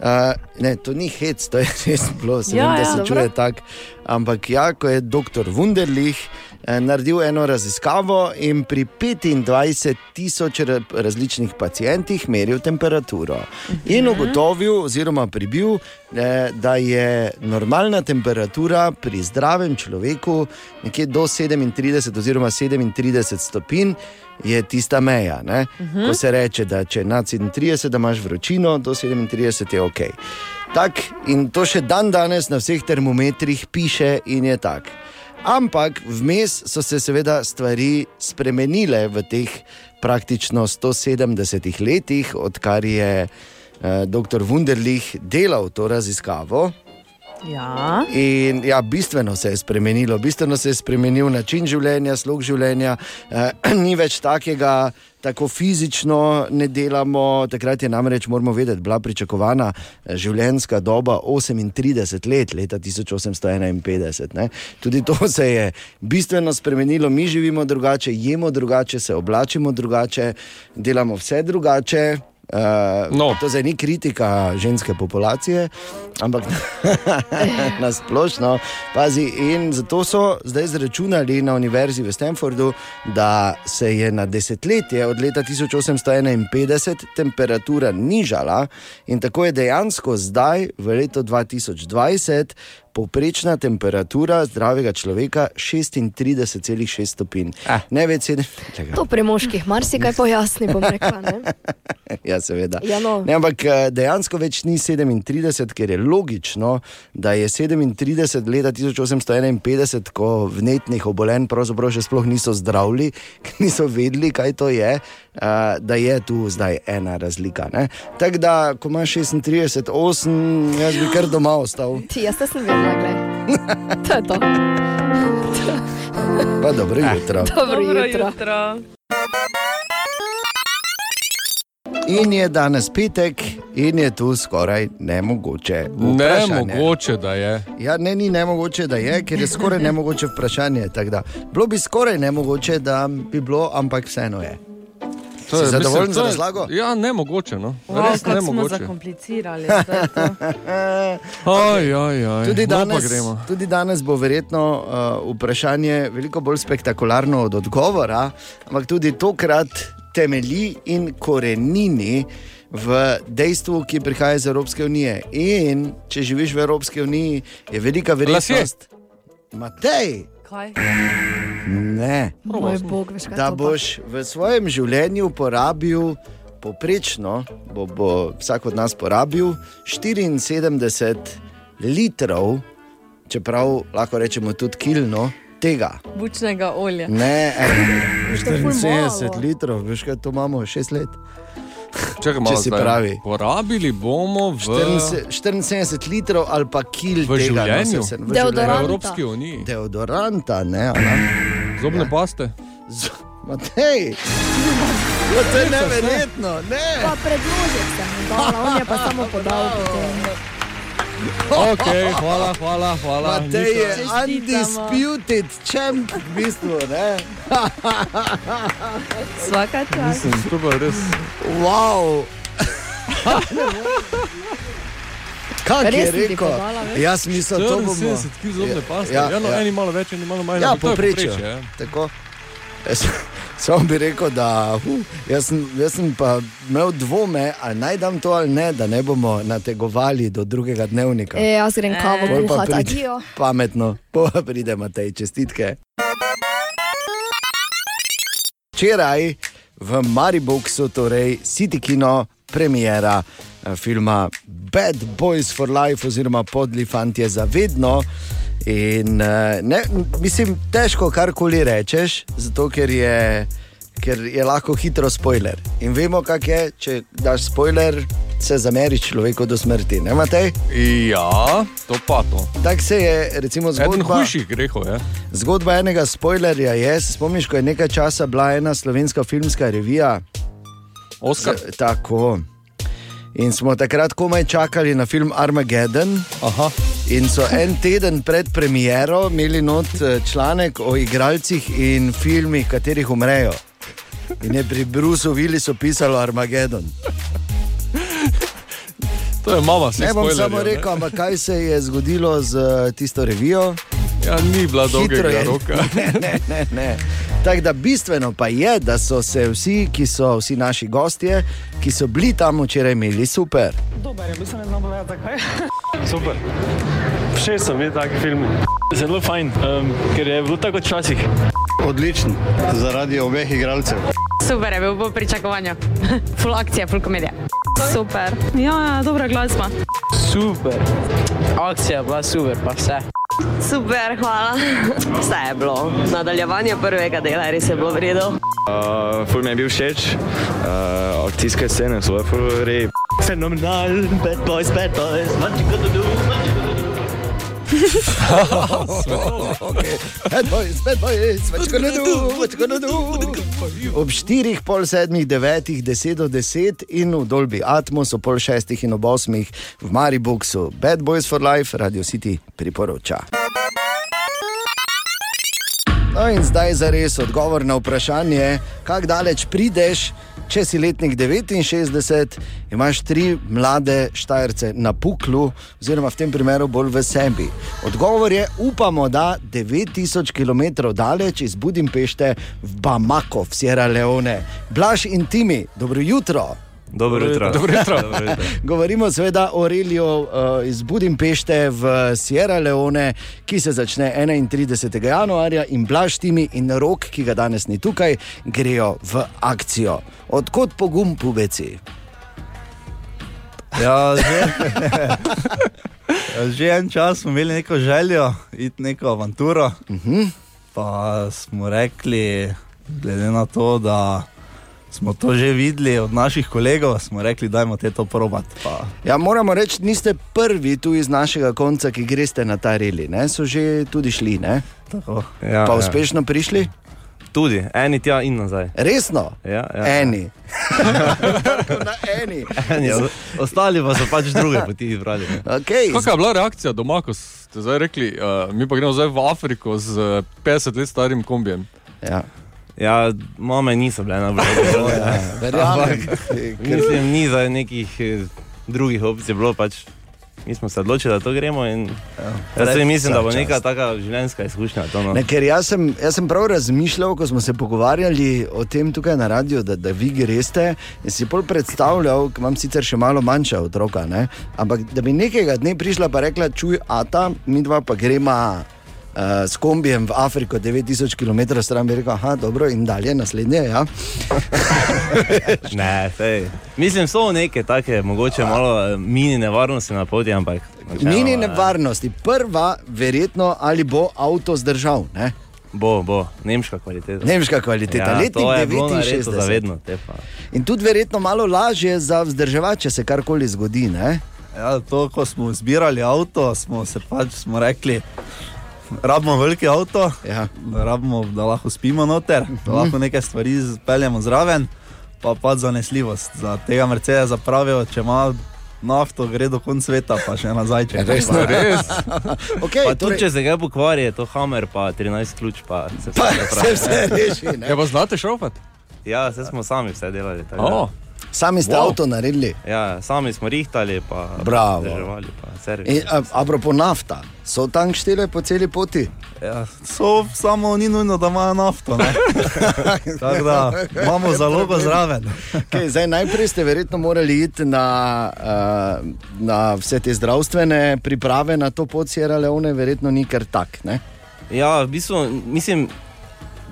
C: Uh, ne, to ni hec, to je res bilo, se
O: Ja,
C: ja, vem, da
O: ja,
C: se
O: dobro.
C: čuje tako. Ampak ja, ko je dr. Wunderlich eh, naredil eno raziskavo in pri 25 tisoč ra- različnih pacijentih meril temperaturo. In ugotovil, oziroma pribil, eh, da je normalna temperatura pri zdravem človeku nekje do 37 oziroma 37 stopinj. Je tista meja, uh -huh. ko se reče, da če je nad 37, da imaš vročino, do 37 je ok. Tak, in to še dan danes na vseh termometrih piše in je tako. Ampak vmes so se seveda stvari spremenile v teh praktično 170 letih, odkar je eh, dr. Wunderlich delal to raziskavo.
F: Ja.
C: In ja, bistveno se je spremenilo, bistveno se je spremenil način življenja, slog življenja. Eh, ni več takega, tako fizično ne delamo. Takrat je namreč, moramo vedeti, bila pričakovana eh, življenjska doba 38 let, leta 1851. Ne? Tudi to se je bistveno spremenilo, mi živimo drugače, jemo drugače, se oblačimo drugače, delamo vse drugače. Uh, no. To zdaj ni kritika ženske populacije, ampak na splošno. Pazi, in zato so zdaj zračunali na univerzi v Stanfordu, da se je na desetletje od leta 1851 temperatura nižala in tako je dejansko zdaj, v letu 2020, povprečna temperatura zdravega človeka 36,6 stopinj. Ah. Ne več 7.
E: To pri moških marsikaj pojasni, bom rekla. Ne?
C: Ja, seveda.
E: Ja, no.
C: Ne, ampak eh, dejansko več ni 37, ker je logično, da je 37 leta 1851, ko vnetnih obolenj pravzaprav še sploh niso zdravili, ker niso vedeli, kaj to je, eh, da je tu zdaj ena razlika. ne. Tako da, ko imaš 36, 8, jaz bi kar doma ostal.
E: Ti, jaz te sem vedela, gledaj. To je to.
C: Pa dobro jutro.
E: Dobro, Dobro jutro.
F: jutro.
C: In je danes petek, in je tu skoraj nemogoče.
D: Ne,
C: Vprašanje.
D: mogoče da je.
C: Ja, ne, ni nemogoče, da je, ker je skoraj nemogoče vprašanje. tako da. Bilo bi skoraj nemogoče, da bi bilo, ampak vseeno je.
D: To
C: Si
D: je,
C: zadovoljen
D: mislim, to
C: z
D: je-
C: razlago?
D: Ja, ne mogoče. No.
F: Wow,
D: Res ne
F: kako smo
D: mogoče.
F: zakomplicirali. zdaj to.
D: Aj, aj, aj.
C: Tudi
D: No, pa
C: danes,
D: gremo.
C: tudi danes bo verjetno uh, vprašanje veliko bolj spektakularno od odgovora, ampak tudi tokrat temelji in korenini v dejstvu, ki prihaja iz Evropske unije. In če živiš v Evropski uniji, je velika verjetnost, Matej,
F: Kaj?
C: ne,
E: Moj bog, veš kaj.
C: da
E: to pa.
C: boš v svojem življenju porabil. Poprečno bo, bo vsak od nas porabil 74 litrov, čeprav lahko rečemo tudi kilno tega.
F: Bučnega olja.
C: Ne,
F: To je ful
C: 74
F: malo.
C: litrov, veš kaj to imamo, 6 let.
D: Čakaj, malo
C: Če si
D: zdaj.
C: pravi.
D: Porabili bomo v,
C: 40 74 litrov ali pa kil
D: v
C: tega, no,
D: življenju,
C: se- se- v
D: v
C: življenju.
D: Evropski uniji.
C: Deodoranta, ne. a
D: Zobne
C: Ja.
D: paste.
C: Z... Matej, Ja, to je neverjetno. Ne.
E: Pa predložek sem, dala, on je pa samo podal.
D: Okay, hvala, hvala, hvala.
C: Matej je
E: Čestitamo.
C: undisputed champ, v bistvu, ne.
F: Vsaka čas.
D: Mislim, to pa res.
C: Wow. Kaj
F: Res
C: je
F: sem ti
C: rekel?
F: podala, veš?
C: Jaz mislim, da to bomo.
D: 74 kg zobne paste.
C: Ja,
D: Ja, no,
C: ja.
D: Eni malo več, eni malo manj.
C: Ja,
D: ampak to je
C: povprečje.
D: povprečje, ja.
C: Tako. Jaz, sam bi rekel, da uh, jaz, sem, jaz sem pa imel dvome, ali naj dam to ali ne, da ne bomo nategovali do drugega dnevnika.
E: E, jaz grem kavo
C: Pol pa
E: kuhati,
C: pride-
E: adijo.
C: Pametno, pol pa pridemo tej čestitke. Včeraj v Mariboku, torej City Kino, premjera eh, filma Bad Boys for Life, oziroma Podli fantje za vedno. In, eh, ne, mislim, težko karkoli rečeš, zato ker je, ker je lahko hitro spoiler. In vemo, kak je, če daš spoiler, se zameriš človeku do smrti. Ne, Matej?
D: Ja, to pa to.
C: Tako se je, recimo,
D: Eden
C: zgodba.
D: hujših grehov ja. je.
C: Zgodba enega spoilerja je, se spomniš, ko je nekaj časa bila ena slovenska filmska revija.
D: Oskar.
C: Z, tako. In smo takrat komaj čakali na film Armageddon.
D: Aha.
C: In so en teden pred premiero imeli not eh, članek o igralcih in filmih, katerih umrejo. In je pri Brusu Willisu pisalo Armageddon.
D: To je mama, se
C: Ne bom
D: spoilerjev,
C: samo
D: ne.
C: rekel, ampak kaj se je zgodilo z eh, tisto revijo?
D: Ja, ni bila dolgega roka.
C: Ne, ne, ne, ne. Tako da bistveno pa je, da so se vsi, ki so vsi naši gostje, ki so bili tam včeraj, imeli super.
O: Dobar je, v bistvu ne znam povedati zakaj. Super. Všeč so mi taki filmi. Zelo fajn, um, ker je bilo tako kot včasih. Odličen, zaradi obeh igralcev.
F: Super je bil po pričakovanju. Full akcija, full komedija. Super.
R: Ja, ja, dobra glasba.
N: Super. Akcija je bila super, pa vse.
E: Super, hvala. Vse je bilo. Nadaljevanje prvega dela res je bilo vredno.
S: Uh, ful mi je bil všeč, uh, akcijske scene so bile ful re.
O: Fenomenal, bad boys, bad boys, what you gonna do, what you gonna do.
C: okay. Bad boys, bad boys, what you gonna do, what you gonna do. Ob 4, pol 7, 9, 10 do 10 in v Dolbi Atmos, ob pol 6 in ob 8 v Mariboku, Bad Boys for Life, Radio City priporoča. No in zdaj za res odgovor na vprašanje, kako daleč prideš, če si letnik 69, imaš tri mlade štajerce na puklu, oziroma v tem primeru bolj v sebi. Odgovor je, upamo, da 9000 km daleč iz Budimpešte v Bamako, v Sierra Leone. Blaž in Timi, dobro jutro.
T: Dobro jutro.
C: Dobro jutro. Govorimo seveda o reliju uh, iz Budimpešte v Sierra Leone, ki se začne 31. januarja in Blaž Timi in Rok, ki ga danes ni tukaj, grejo v akcijo. Odkot pogum pubeci?
T: Ja, že, že en čas smo imeli neko željo, iti neko avanturo. Uh -huh. Pa smo rekli, glede na to, da smo to že videli od naših kolegov, smo rekli, dajmo te to probat. Pa,
C: Ja, moramo reči, niste prvi tu iz našega konca, ki greste na ta reli. Ne? So že tudi šli, ne?
T: Ja,
C: pa
T: ja.
C: uspešno prišli?
T: tudi, eni tja in nazaj.
C: Resno?
T: Ja, ja.
C: Eni. na eni. Ja.
T: eni. o- Ostali pa so pač druge poti izbrali. ne.
C: Okay.
D: Kakšna je bila reakcija doma, ko ste zdaj rekli, uh, mi pa gremo zdaj v Afriko z eh, 50 let starim kombijem?
C: Ja.
T: Ja, mame niso bile najbolj zadovoljne.
C: ja, verjamem.
T: Ampak, Mislim, ni za nekih eh, drugih opcij bilo pač. Mi smo se odločili, da to gremo. In, ja, jaz tudi mislim, da bo neka taka življenjska izkušnja. To, no.
C: Ne, ker jaz sem, jaz sem prav razmišljal, ko smo se pogovarjali o tem tukaj na radiju, da, da vi greste. In si bolj predstavljal, ker imam sicer še malo manjša otroka, ne? ampak da bi nekega dne prišla in rekla: Čuj, ata, mi dva pa gremo. Uh, s kombijem v Afriko, 9000 km stran, bi rekel, aha, dobro, in dalje, naslednje. Ja.
T: ne, sej. Mislim, so neke take, mogoče malo eh, mini nevarnosti na poti, ampak. načeloma, ja.
C: Mini
T: ne.
C: nevarnosti. Prva, verjetno, ali bo avto zdržal. Ne?
T: Bo, bo, nemška kvaliteta.
C: Nemška kvaliteta,
T: ja,
C: letnik
T: to je bilo narejeno
C: 69.
T: Za vedno, te pa.
C: In tudi verjetno malo lažje za vzdrževati, če se karkoli zgodi. Ne?
T: Ja, to, ko smo zbirali avto, smo se pač smo rekli, rabimo veliki avto,
C: ja.
T: rabimo, da lahko spimo noter, da Mhm. lahko nekaj stvari peljemo zraven, pa pa zanesljivost. Za tega Mercedes zapravijo, če ima nafto, gre do konca sveta, pa še nazaj. Če
C: E, Resno,
T: pa.
C: Ja, res. Okay,
T: pa tudi,
C: torej-
T: če se ga pokvari, je to Hammer, pa 13 ključ, pa se vse,
C: Pa
T: zapravi.
C: se vse reši, ne? Ja,
D: pa znate šrofat?
T: Ja, vse smo sami vse delali. tako da- Oh.
C: Sami ste wow.
T: Wow.
C: avto naredili.
T: Ja, sami smo rihtali, pa
C: Bravo.
T: vzdrževali, pa servis.
C: In, E, a, apropo nafta, so tank štele po celi poti.
T: Ja, so, samo ni nujno, da imajo nafto. ne. Tako da imamo zalogo zraven.
C: Okay, zdaj, najprej ste verjetno morali iti na, uh, na vse te zdravstvene priprave na to pot Sierra Leone, verjetno ni kar tak. Ne?
T: Ja, v bistvu, mislim,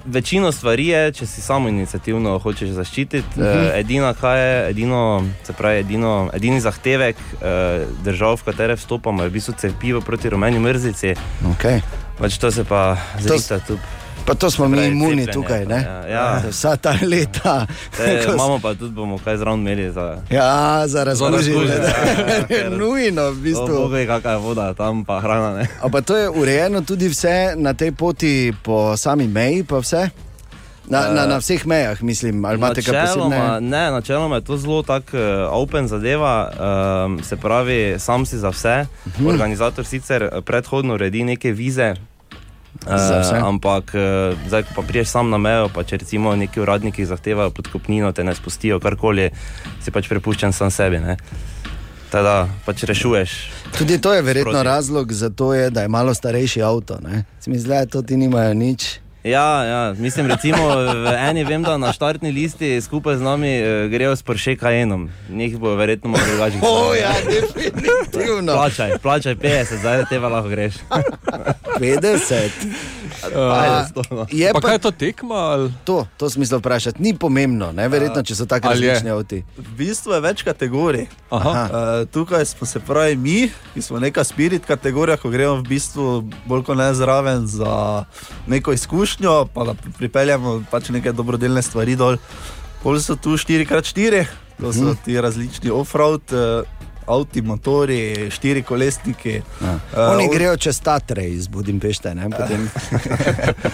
T: večino stvari je, če si samo inicijativno hočeš zaščititi. Uh
C: Mhm.
T: -huh. Edina, kaj je, edino, se pravi, edino, edini zahtevek eh, držav, v katere vstopamo, je v bistvu cepivo proti rumeni mrzici.
C: Okay.
T: Pač to se pa
C: To s-
T: zrihta tudi.
C: Pa to smo mi
T: pravi,
C: imuni
T: cepljenje,
C: tukaj,
T: pa,
C: ne?
T: ja, ja.
C: Vsa ta leta.
T: Te,
C: ko s-
T: imamo pa tudi, bomo kaj zraven imeli za. Ja,
C: Ja, za razložitev.
T: razkužene,
C: Nujno, v bistvu.
T: Bog ve, kakšna je voda tam, pa hrana. Ne?
C: Ampak to je urejeno tudi vse na tej poti po sami meji, pa vse? Na, na, na vseh mejah, mislim, ali imate kaj
T: Eh, Načeloma,
C: posebnega?
T: ne, načeloma je to zelo tako eh, open zadeva, um, se pravi, sam si za vse.
C: Mhm.
T: Organizator sicer eh, predhodno uredi neke vize.
C: Za vse.
T: Eh, ampak, eh, zdaj, ko pa priješ sam na mejo, pa če recimo neki uradniki zahtevajo podkopnino, te ne spustijo, karkoli, si pač prepuščen sam sebi. Ne? Teda pač rešuješ.
C: Tudi to je verjetno
T: Sproti.
C: razlog za to, je, da je malo starejši avto. Zgledaj, to ti nimajo nič.
T: Ja, ja, mislim, recimo, v eni vem, da na štartni listi skupaj z nami eh, grejo s Porsche Cayennom. Njih bo verjetno malo drugačnih.
C: O, ja, definitivno.
T: Plačaj, plačaj 50, zdaj tebe lahko greš.
C: 50.
T: Pa,
C: je
D: pa kaj je to tekma? Ali?
C: To, to smisel vprašati, ni pomembno, ne? verjetno, če so tako različni avti.
U: V bistvu je več kategorij.
C: Aha.
U: Uh, tukaj smo se pravi mi, ki smo neka spirit kategorija, ko gremo v bistvu bolj kot ne zraven za neko izkušnjo, pa da pripeljemo pač neke dobrodelne stvari dol. Pol so tu 4x4, to so
C: Mhm.
U: ti različni off-road. Uh, Avti, motori, štiri kolesniki.
D: Eh,
C: Uh, Oni grejo čez Tatrej iz Budimpešte. Ne? Potem,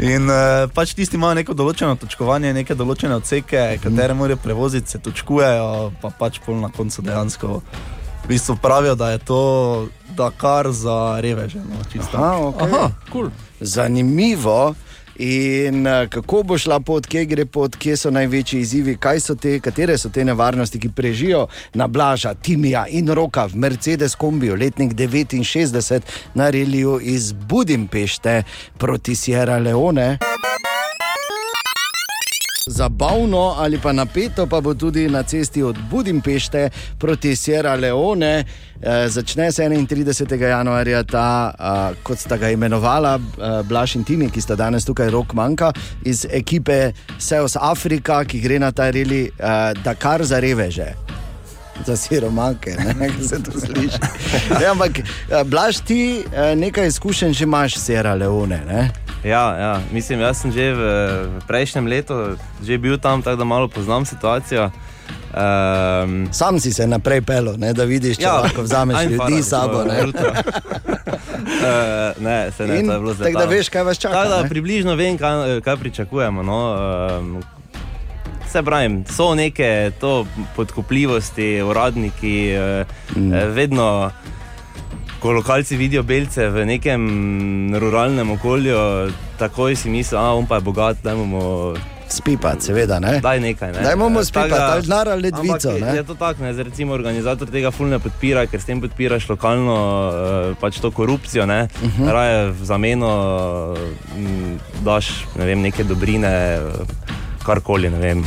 U: In uh, pač tisti imajo neko določeno točkovanje, neke določene odseke,
C: Mhm.
U: katere morajo prevoziti, se točkujejo, pa pač pol na koncu
C: Ja.
U: dejansko. V bistvu pravijo, da je to Dakar za reveže. No, čisto.
C: aha, okay. aha,
D: cool.
C: Zanimivo. In eh, kako bo šla pot, kje gre pot, kje so največji izzivi, kaj so te, katere so te nevarnosti, ki prežijo na Blaža, Timija in Roka v Mercedes kombiju, letnik 69, na reliju iz Budimpešte proti Sierra Leone. Zabavno ali pa napeto pa bo tudi na cesti od Budimpešte proti Sierra Leone. E, začne se 31. januarja ta, a, kot sta ga imenovala a, Blaž in Timi, ki sta danes tukaj, rok manjka, iz ekipe Seos Afrika, ki gre na ta reli a, Dakar za reveže. Za siromake, kako se to sliši. Ja, ampak, a, Blaž, ti a, nekaj izkušenj že imaš s Sierra Leone. Ne?
T: Ja, ja, mislim, jaz sem že v, v prejšnjem letu že bil tam, tako da malo poznam situacijo. Um,
C: Sam si se naprej pelo, ne, da vidiš, če ja, lahko vzameš ljudi s sabo. ne.
T: Uh, ne, se ne,
C: In
T: to je bilo zelo
C: tako da veš, kaj vas čaka,
T: Tako da
C: ne?
T: približno vem, kaj, kaj pričakujemo. No, um, Se pravi, so neke to podkupljivosti, uradniki, mm. vedno, ko lokalci vidijo belce v nekem ruralnem okolju, takoj si mislijo, da on pa je bogat, da imamo.
C: Spipati, seveda. Ne?
T: Daj nekaj. Ne?
C: Dajmo mu
T: Eh,
C: spipati,
T: tako da-
C: ali denar ali
T: Ampak
C: ledvico,
T: je-
C: ne?
T: Je to tako, ne? zdaj recimo organizator tega fulne podpira, ker s tem podpiraš lokalno eh, pač to korupcijo. Ne? Uh
C: Mhm.
T: -huh. Raje v zameno eh, m, daš ne vem, neke dobrine, eh, karkoli. ne vem.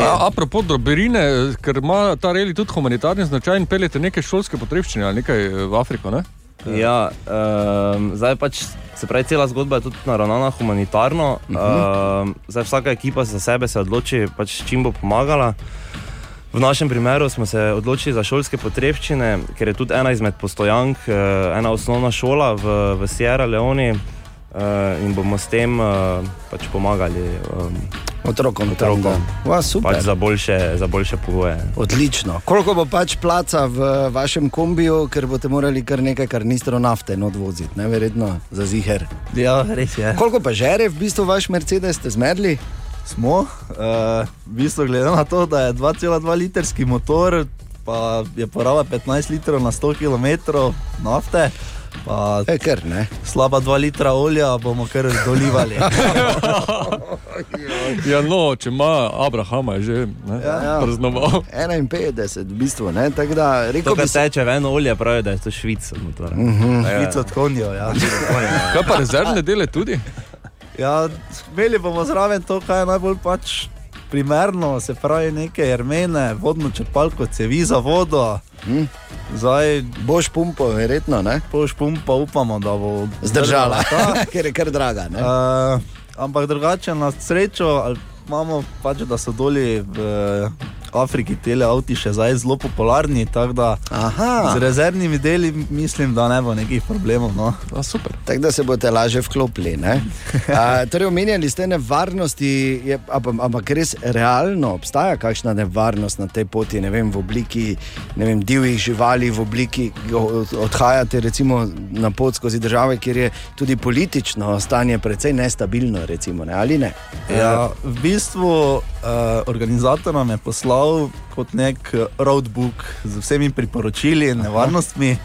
D: A, apropo dobrine, eh, ker ima ta reli tudi humanitarni značaj in peljete neke šolske potrebščine ali nekaj eh, v Afriko. Ne? Eh,
T: Ja, um, zdaj pač se pravi, cela zgodba je tudi naravnana humanitarno.
C: Mhm.
T: Uh -huh. um, zdaj vsaka ekipa za sebe se odloči, pač čim bo pomagala. V našem primeru smo se odločili za šolske potrebščine, ker je tudi ena izmed postojank, eh, ena osnovna šola v, v Sierra Leone eh, in bomo s tem eh, pač pomagali eh,
C: Otrokom,
T: otrokom
C: Ua, super.
T: pač za, boljše, za boljše pogoje.
C: Odlično. Koliko bo pač placa v vašem kombiju, ker boste morali kar nekaj karnistrov nafte not voziti, ne verjetno za ziger.
U: Ja, res je.
C: Koliko pa žere v bistvu vaš Mercedes ste zmedli?
U: Smo, uh, v bistvu glede na to, da je 2,2 litrski motor, pa je poraba 15 litrov na 100 km nafte. Pa,
C: e, kar, ne.
U: Slaba 2 litra olja bomo kar dolivali.
D: Ja, no, če ima Abrahama, je že ne, ja, ja. praznoval.
C: 51, v bistvu, ne. Tako da,
T: To,
C: rekel bi
T: kar
C: se.
T: teče ven olje, pravijo, da je to švica.
C: Mhm.
U: Švico od konjev, ja.
D: Kaj pa rezervne dele tudi?
U: Ja, imeli bomo zraven to, kar je najbolj pač primerno, se pravi neke jermene, vodno črpalko, cevi za vodo.
C: Hm?
U: Zdaj,
C: boš pumpo, verjetno, ne?
U: Boš pumpo, upamo, da bo
C: Zdržala,
U: ta.
C: ker je kar draga. ne.
U: Uh, ampak drugače na srečo ali imamo pač, da so dolje v Afriki te avti še zdaj zelo popularni. tako Da, z rezervnimi deli mislim, da ne bo nekih problemov. No.
D: A, super.
C: Tako da se boste lažje vklopili. ne? A, torej, omenjali ste nevarnosti, je, ampak, ampak res realno obstaja kakšna nevarnost na tej poti, ne vem, v obliki ne vem, divjih živali, v obliki od- odhajate recimo, na pot skozi države, kjer je tudi politično stanje precej nestabilno, recimo, ne? ali ne?
U: Ja, v bistvu eh, organizator nam je poslal kot nek eh, roadbook z vsemi priporočili in nevarnostmi.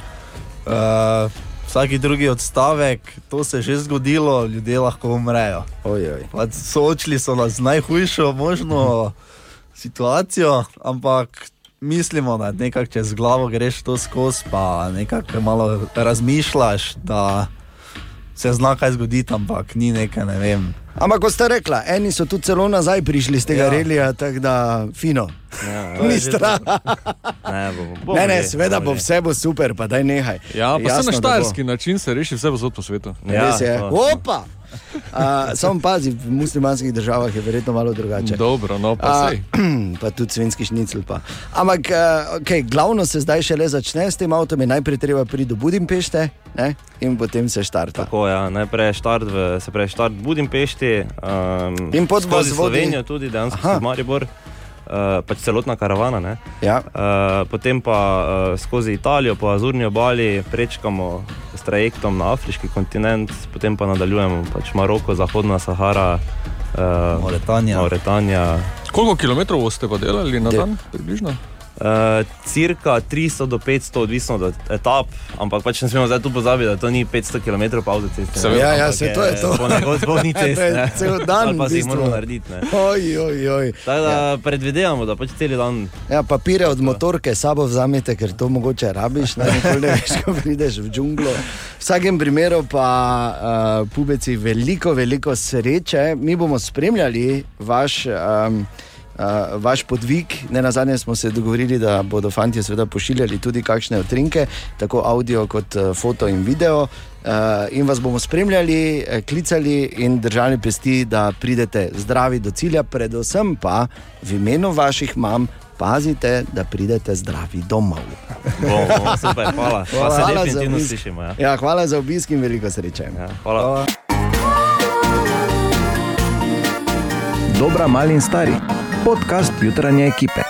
U: Eh, vsaki drugi odstavek, to se je že zgodilo, ljudje lahko umrejo. Pač Soočili so nas z najhujšo možno situacijo, ampak mislimo, da nekako čez glavo greš to skozi, pa nekako malo razmišljaš, da se zna kaj zgoditi, ampak ni nekaj, ne vem.
C: Ampak kot ste rekla, eni so tudi celo nazaj prišli z tega ja. relija, tako da fino.
T: Ja,
C: To Ni strah.
T: Ne, bo, bo,
C: Ne, ne, seveda bo vse bo super, pa daj nehaj.
D: Ja, pa se na
C: Jasno, da bo. Ja,
D: štajerski način se reši vse posod po svetu.
C: Res
T: Ja,
C: je. Opa! Uh, Sam pazi, v muslimanskih državah je verjetno malo drugače.
D: Dobro, no pa
C: A,
D: sej.
C: pa tudi svinski šnicl. Pa. Ampak, uh, okay, glavno se zdaj šele začne s tem avtom, in najprej treba priti do Budimpešte ne? in potem se štarta.
T: Tako, ja. Najprej je štart v, se pravi, štart v Budimpešti, um,
C: In pot
T: skozi
C: vas vodi-
T: Slovenijo tudi, dejansko skozi Maribor, uh, pač celotna karavana. Ne?
U: É
C: Ja.
T: Uh, potem pa uh, skozi Italijo, po Azurni obali, prečkamo s trajektom na afriški kontinent, potem pa nadaljujemo pač Maroko, Zahodna Sahara. Uh,
U: Mauretanija.
T: Mauretanija.
D: Koliko kilometrov boste pa delali na dan, približno?
T: Uh, cirka 300 do 500, odvisno od etap, ampak pač ne smemo zdaj tu pozabiti, da to ni 500 km po avtocesti.
C: Seveda, Ja, ja, ampak saj je to je to.
T: Ponekod sploh ni cest.
C: To je
T: ne.
C: cel dan
T: Ali pa
C: v
T: si jih
C: bistvu.
T: moramo narediti. ne.
C: Oj, oj, oj.
T: Tako da ja. predvidevamo, da pač cel dan.
C: Ja, papire od motorke s sabo vzamete, ker to mogoče rabiš, ne, nikoli ne veš, ko prideš v džunglo. V vsakem primeru pa uh, pubeci veliko, veliko sreče. Mi bomo spremljali vaš. Um, Uh, vaš podvig, ne na zadnje smo se dogovorili, da bodo fanti seveda pošiljali tudi kakšne utrinke, tako audio kot uh, foto in video. Uh, in vas bomo spremljali, eh, klicali in držali pesti, da pridete zdravi do cilja, predvsem pa v imenu vaših mam. Pazite, da pridete zdravi domov.
T: Bomo, bomo, super, hvala. Pa se
C: za
T: definitivno
C: obisk.
T: slišimo,
U: é.
T: ja.
C: Ja, hvala za obisk in veliko sreče. Ja,
T: hvala. hvala.
H: Dobra, mali in stari. Podcast jutranje ekipe.